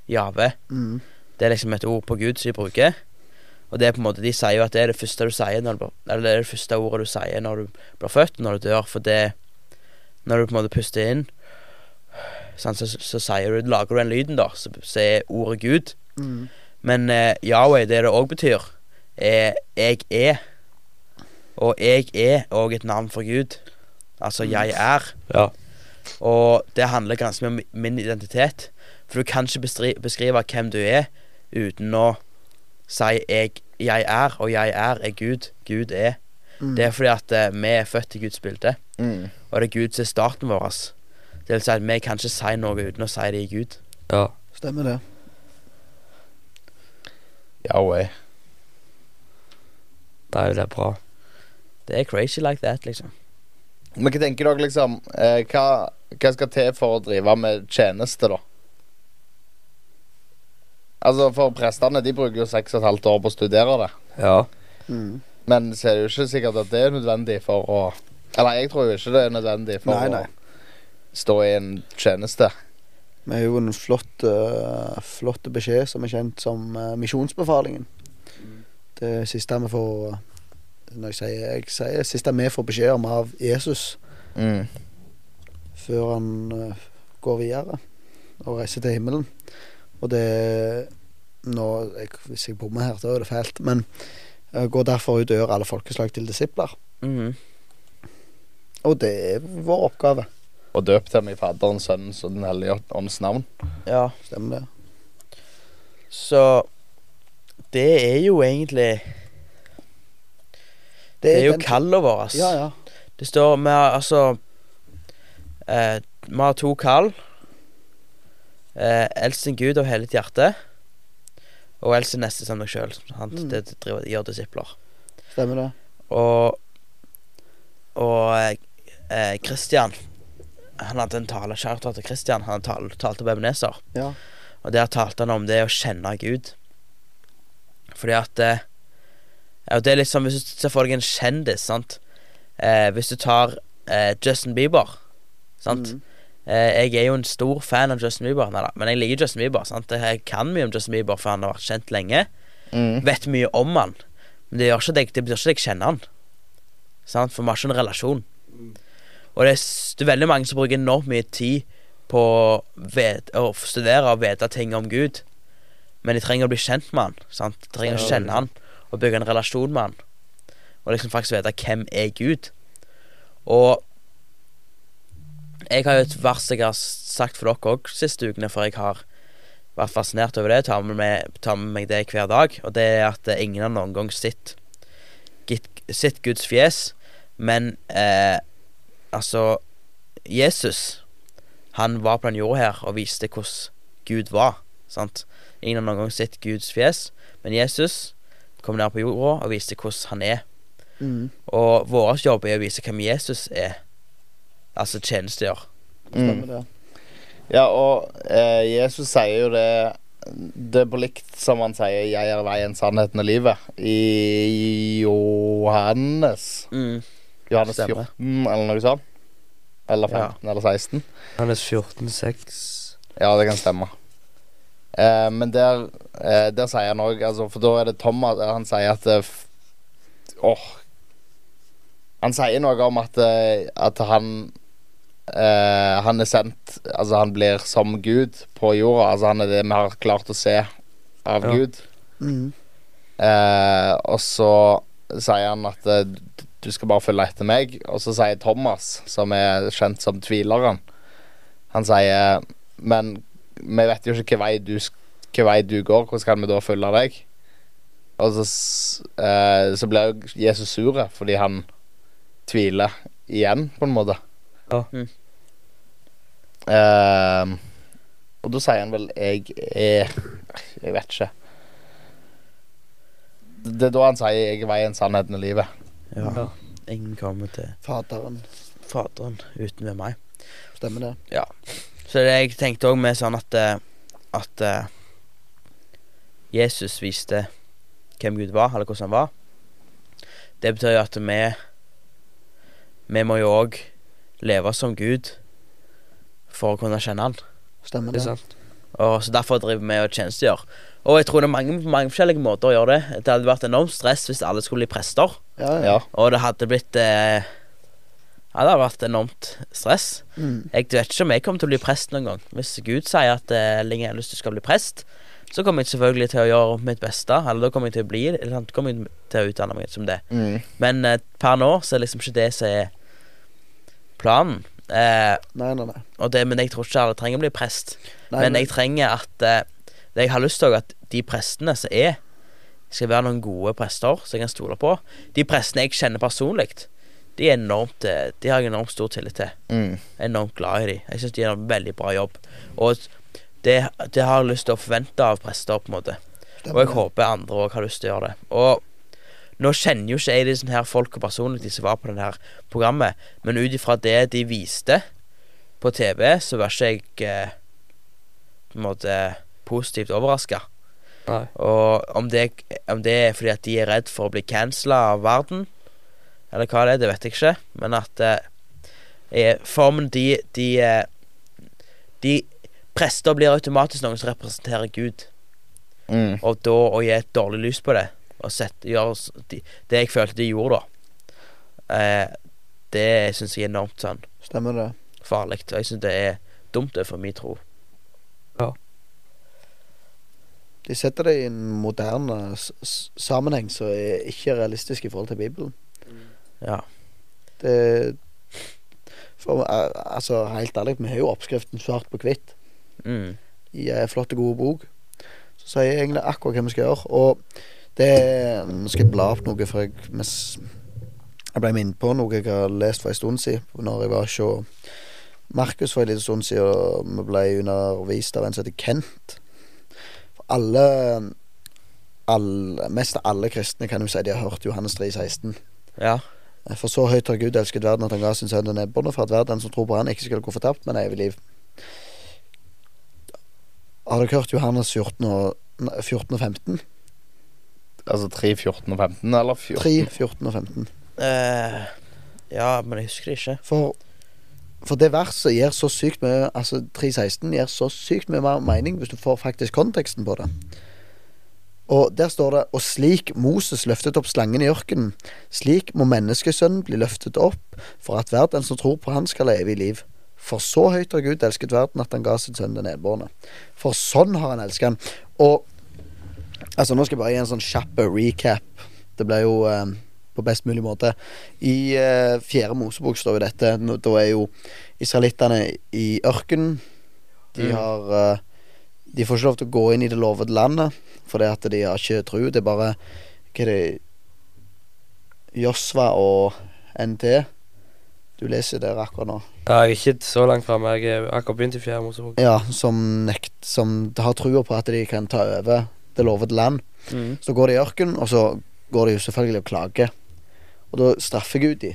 Jave. Mm. Det er liksom et ord på Gud som de bruker. Og det er på en måte, De sier jo at det er det første du sier når du, blir- Eller det er det første ordet du sier når du blir født, når du dør. For det Når du på en måte puster inn, sant, så, så sier du, lager du den lyden, da. Så, så er ordet Gud. Mm. Men eh, Yahweh, det det òg betyr, er 'jeg er'. Og 'jeg er' òg et navn for Gud. Altså 'jeg er'. Ja. Og det handler ganske mye om min identitet. For du kan ikke bestri- beskrive hvem du er uten å si jeg, 'jeg er', og 'jeg er' er Gud. Gud er. Mm. Det er fordi at eh, vi er født i Guds bilde, Mm. og det er Gud som er starten vår. Det vil si at vi kan ikke si noe uten å si det i Gud. ja. Stemmer det. Yahweh. Nei, det er bra. Det er crazy like that, liksom. Men hva tenker dere, liksom? Eh, hva, hva skal til for å drive med tjeneste, da? Altså, for prestene, de bruker jo seks og et halvt år på å studere det. Ja. Mm. Men så er det jo ikke sikkert at det er nødvendig for å Eller jeg tror jo ikke det er nødvendig for Nei, nei. å stå i en tjeneste. Vi har jo en flott, eh, flott beskjed som er kjent som eh, misjonsbefalingen. Mm. Det siste vi får Når jeg sier, jeg sier siste vi får beskjed om av Jesus Mm. før han eh, går videre og reiser til himmelen. Og det nå, jeg, Hvis jeg bommer her, da er det fælt. Men uh, går derfor ut og gjør alle folkeslag til disipler. Mhm. Og det er vår oppgave. Og døpt dem i Faderens, Sønnens og Den hellige ånds navn. Ja. Stemmer det? Så det er jo egentlig Det er jo den- kallet vårt. Ja, ja. Det står Vi har altså eh, Vi har to kall. Eh, Elsk din Gud av hele ditt hjerte. Og elsk din neste som deg sjøl. Mm. Det driver, gjør disipler. Stemmer det. Og Og eh, Christian Han hadde en tale Kjærlighet til Christian. Han tal, talte på Ebenezer. Ja. Og der talte han om det å kjenne Gud. Fordi at eh, ja, Det er litt sånn hvis du ser for deg en kjendis, sant. Eh, hvis du tar eh, Justin Bieber, sant. Mm. Eh, jeg er jo en stor fan av Justin Bieber, Neida, men jeg liker Justin Bieber. sant? Jeg kan mye om Justin Bieber, for han har vært kjent lenge. Mm. Vet mye om han, men det, gjør ikke at jeg, det betyr ikke at jeg kjenner han. Sant? For vi har ikke en relasjon. Og det er, s- det er veldig mange som bruker enormt mye tid på å vet, å studere og vite ting om Gud, men de trenger å bli kjent med han. Sant? De trenger å Ja. kjenne han og bygge en relasjon med han. Og liksom faktisk vite hvem er Gud. Og jeg har jo et vers jeg har sagt for dere òg siste ukene, for jeg har vært fascinert over det. Tar med, meg, tar med meg det hver dag. Og det er at eh, ingen har noen gang sett gitt- sett Guds fjes, men eh, altså Jesus, han var på den jorda her og viste hvordan Gud var. Sant? Ingen har noen gang sett Guds fjes, men Jesus kom ned på jorda og viste hvordan han er. Mm. Og vår jobb er å vise hvem Jesus er. Altså tjenestegjør. Stemmer Mm. det. Ja, og eh, Jesus sier jo det Det er på likt som han sier 'Jeg er veien, sannheten og livet' i Johannes. Mm. Johannes Stemmer. 14 eller noe sånt. Eller Ja. 15 eller 16. Han er 14,6. Ja, det kan stemme. Eh, men der, eh, der sier han òg altså, For da er det Thomas eh, Han sier at eh, f- Åh Han sier noe om at, eh, at han eh, Han er sendt Altså, han blir som Gud på jorda. Altså, han er det vi har klart å se av Ja. Gud. Mm. Eh, og så sier han at eh, d- du skal bare følge etter meg. Og så sier Thomas, som er kjent som tvileren, han sier Men vi vet jo ikke hvilken vei du, sk- hvilken vei du går, hvordan kan vi da følge deg? Og så, s- eh, så blir jo Jesus sur fordi han tviler igjen, på en måte. Ja. Mm. Eh, og da sier han vel 'jeg er Jeg vet ikke. Det er da han sier 'jeg er veien, sannheten og livet'. Ja. Ingen kommer til Faderen. Faderen uten ved meg. Stemmer det. Så det jeg tenkte òg med sånn at eh, At eh, Jesus viste hvem Gud var, eller hvordan han var. Det betyr jo at vi Vi må jo òg leve som Gud for å kunne kjenne han. Stemmer Det er det. sant. Og så Derfor driver vi og tjenestegjør. Og jeg tror det er mange, mange forskjellige måter å gjøre det. Det hadde vært enormt stress hvis alle skulle bli prester. Ja, ja. Ja. Og det hadde blitt eh, Ja, det hadde vært enormt stress. Mm. Jeg vet ikke om jeg kommer til å bli prest noen gang. Hvis Gud sier at eh, Linge Ellis, du skal bli prest, så kommer jeg selvfølgelig til å gjøre mitt beste. Eller da kommer jeg til å bli det, eller sant, kommer jeg til å utdanne meg som det. Mm. Men eh, per nå så er det liksom ikke det som er planen. Eh, Nei, nei, nei. og det, men jeg tror ikke alle trenger å bli prest. nei men jeg trenger at eh, det Jeg har lyst til at de prestene som er, skal være noen gode prester som jeg kan stole på. De prestene jeg kjenner personlig, de, er enormt, eh, de har jeg enormt stor tillit til Mm. enormt glad i dem. Jeg syns de gjør en veldig bra jobb. Og det, det har jeg lyst til å forvente av prester, på en måte. Og Stemmer jeg håper andre òg har lyst til å gjøre det. Og nå kjenner jo ikke jeg disse her folk og personlig, de som var på denne her programmet, men ut ifra det de viste på TV, så var ikke jeg eh, på en måte positivt overraska. Nei. Og om det, om det er fordi at de er redd for å bli cancela av verden, eller hva det er, det vet jeg ikke, men at eh, eh, formen de de, eh, de Prester blir automatisk noen som representerer Gud, Mm. og da å gi et dårlig lys på det og sette, gjøre s- de, Det jeg følte de gjorde, da, eh, det syns jeg er enormt sånn det. Stemmer det. farlig. Og jeg syns det er dumt overfor min tro. De setter det i en moderne s s sammenheng som er ikke realistisk i forhold til Bibelen. Ja. Det for, eh, Altså, helt ærlig, vi har jo oppskriften svart på hvitt Mm. i ei flott og god bok. Så sier jeg egentlig akkurat hva vi skal gjøre. Og det mm, Nå skal jeg bla opp noe, for jeg, mis, jeg ble minnet på noe jeg har lest for en stund siden, når jeg var hos Markus for en liten stund siden, og vi ble undervist av en som heter Kent. For alle, alle Mest alle kristne kan jo si de har hørt Johannes 3, 16. ja. Eh, For så høyt har Gud elsket verden at han ga sin sønn den nedbåndet, for at verden som tror på han ikke skal gå fortapt, men evig liv. Har dere hørt Johannes 14 og, nei, 14 og 15? Altså 3, 14 og 15, eller 3, 14? 14 og 15. Eh, ja, men jeg husker det ikke. For, for det verset gir så sykt mye Altså 3.16 gir så sykt mye mer mening hvis du får faktisk konteksten på det. Og der står det Og slik Moses løftet opp slangen i ørkenen, slik må menneskesønnen bli løftet opp, for at hver den som tror på han skal ha evig liv. For så høyt har Gud elsket verden at han ga sin sønn den nedbårne. For sånn har han elsket han. Og altså, nå skal jeg bare gi en sånn kjapp recap. Det ble jo eh, på best mulig måte. I eh, fjerde Mosebok står jo dette. Nå, da er jo israelittene i ørkenen. De Mm. har eh, De får ikke lov til å gå inn i det lovede landet fordi at de har ikke tru. Det er bare Hva er det Josva og NT. Du leser der akkurat nå. Ja, jeg er ikke så langt framme. Jeg er akkurat begynt i fjerde Mosebok. Ja, som, nekt, som har trua på at de kan ta over det lovede land. Mm. Så går de i ørkenen, og så går de jo selvfølgelig og klager. Og da straffer Gud de.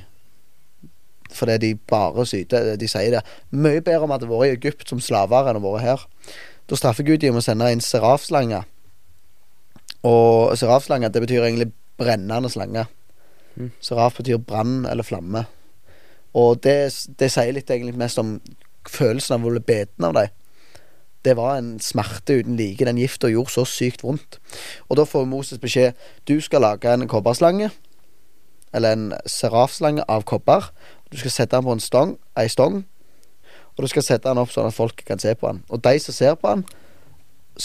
Fordi de bare syter. De sier det mye bedre om at det vært i Egypt som slaver enn å vært her. Da straffer Gud de med å sende inn serafslanger. Og serafslanger, det betyr egentlig brennende slange. Mm. Seraf betyr brann eller flamme. Og det, det sier litt egentlig mest om følelsen av å bli beten av dem. Det var en smerte uten like. Den gifta gjorde så sykt vondt. Og da får Moses beskjed Du skal lage en kobberslange Eller en serafslange av kobber Du skal sette den på en stong, ei stong Og du skal sette den opp sånn at folk kan se på den Og de som ser på den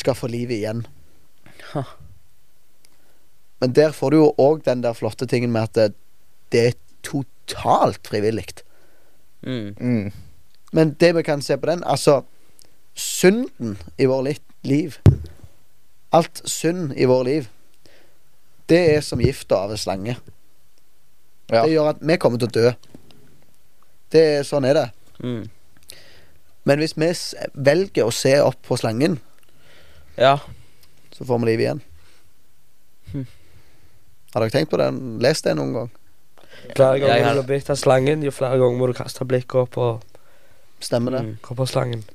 Skal få livet igjen Ha. Men der får du jo òg den der flotte tingen med at det, det er totalt frivillig. Mm. Mm. Men det vi kan se på den Altså, synden i vår li liv Alt synd i vår liv Det er som gift av en slange. Ja. Det gjør at vi kommer til å dø. Det er, sånn er det. Mm. Men hvis vi s- velger å se opp på slangen, Ja. så får vi liv igjen. Hm. Har dere tenkt på den? Lest det noen gang? Flere ganger Jeg har- du blir bitt av slangen, jo flere ganger må du kaste blikket opp og Stemmer det? Mm. gå på slangen.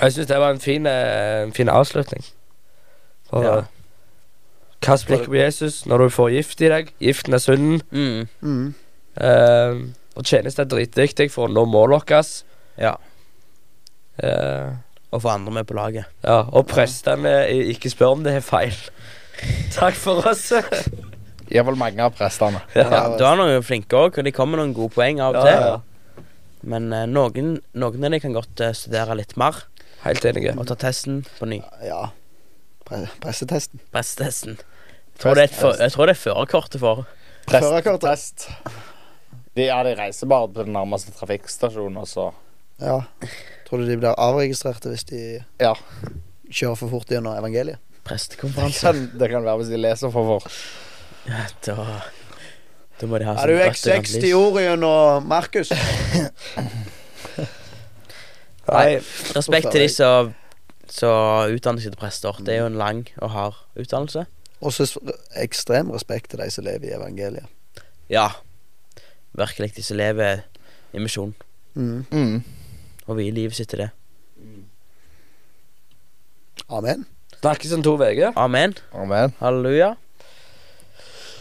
Jeg syns det var en fin, eh, en fin avslutning. For Ja. eh, Kast blikket på Jesus når du får gift i deg. Giften er synden. Mm. Mm. Eh, og tjeneste er dritviktig for å nå målet vårt. Ja. Eh, Og få andre med på laget. ja. Og prestene i- ikke spør om det er feil. Takk for oss. Iallfall mange av prestene. Ja, Du har noen flinke òg, og de kommer med noen gode poeng av og Ja, ja. til. Men eh, noen, noen av de kan godt eh, studere litt mer Helt enig. og ta testen på ny. Ja. Pre pressetesten. Pressetesten. Jeg tror det er et for- Jeg tror det er førerkortet for. Prest. Førerkortet. Prest. De, ja, de reiser bare til den nærmeste trafikkstasjonen, og så Ja. Tror du de blir avregistrerte hvis de Ja. kjører for fort gjennom evangeliet? Prestekonferanse. kan, Det kan være hvis de leser for fort. Ja, da Da må de ha sånn Er du X60 ord gjennom Markus? Nei, Respekt til de som som utdanner seg til prester. Det Mm. er jo en lang og hard utdannelse. Og så s- ekstrem respekt til de som lever i evangeliet. Ja. Virkelig, de som lever i misjon Mm. Mm. og vier livet sitt til det. Amen. snakkes om to uker. Amen. Amen. Halleluja.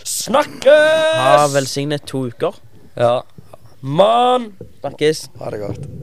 Snakkes! Ha velsignet to uker. Ja. Mann! Snakkes. Ha det godt.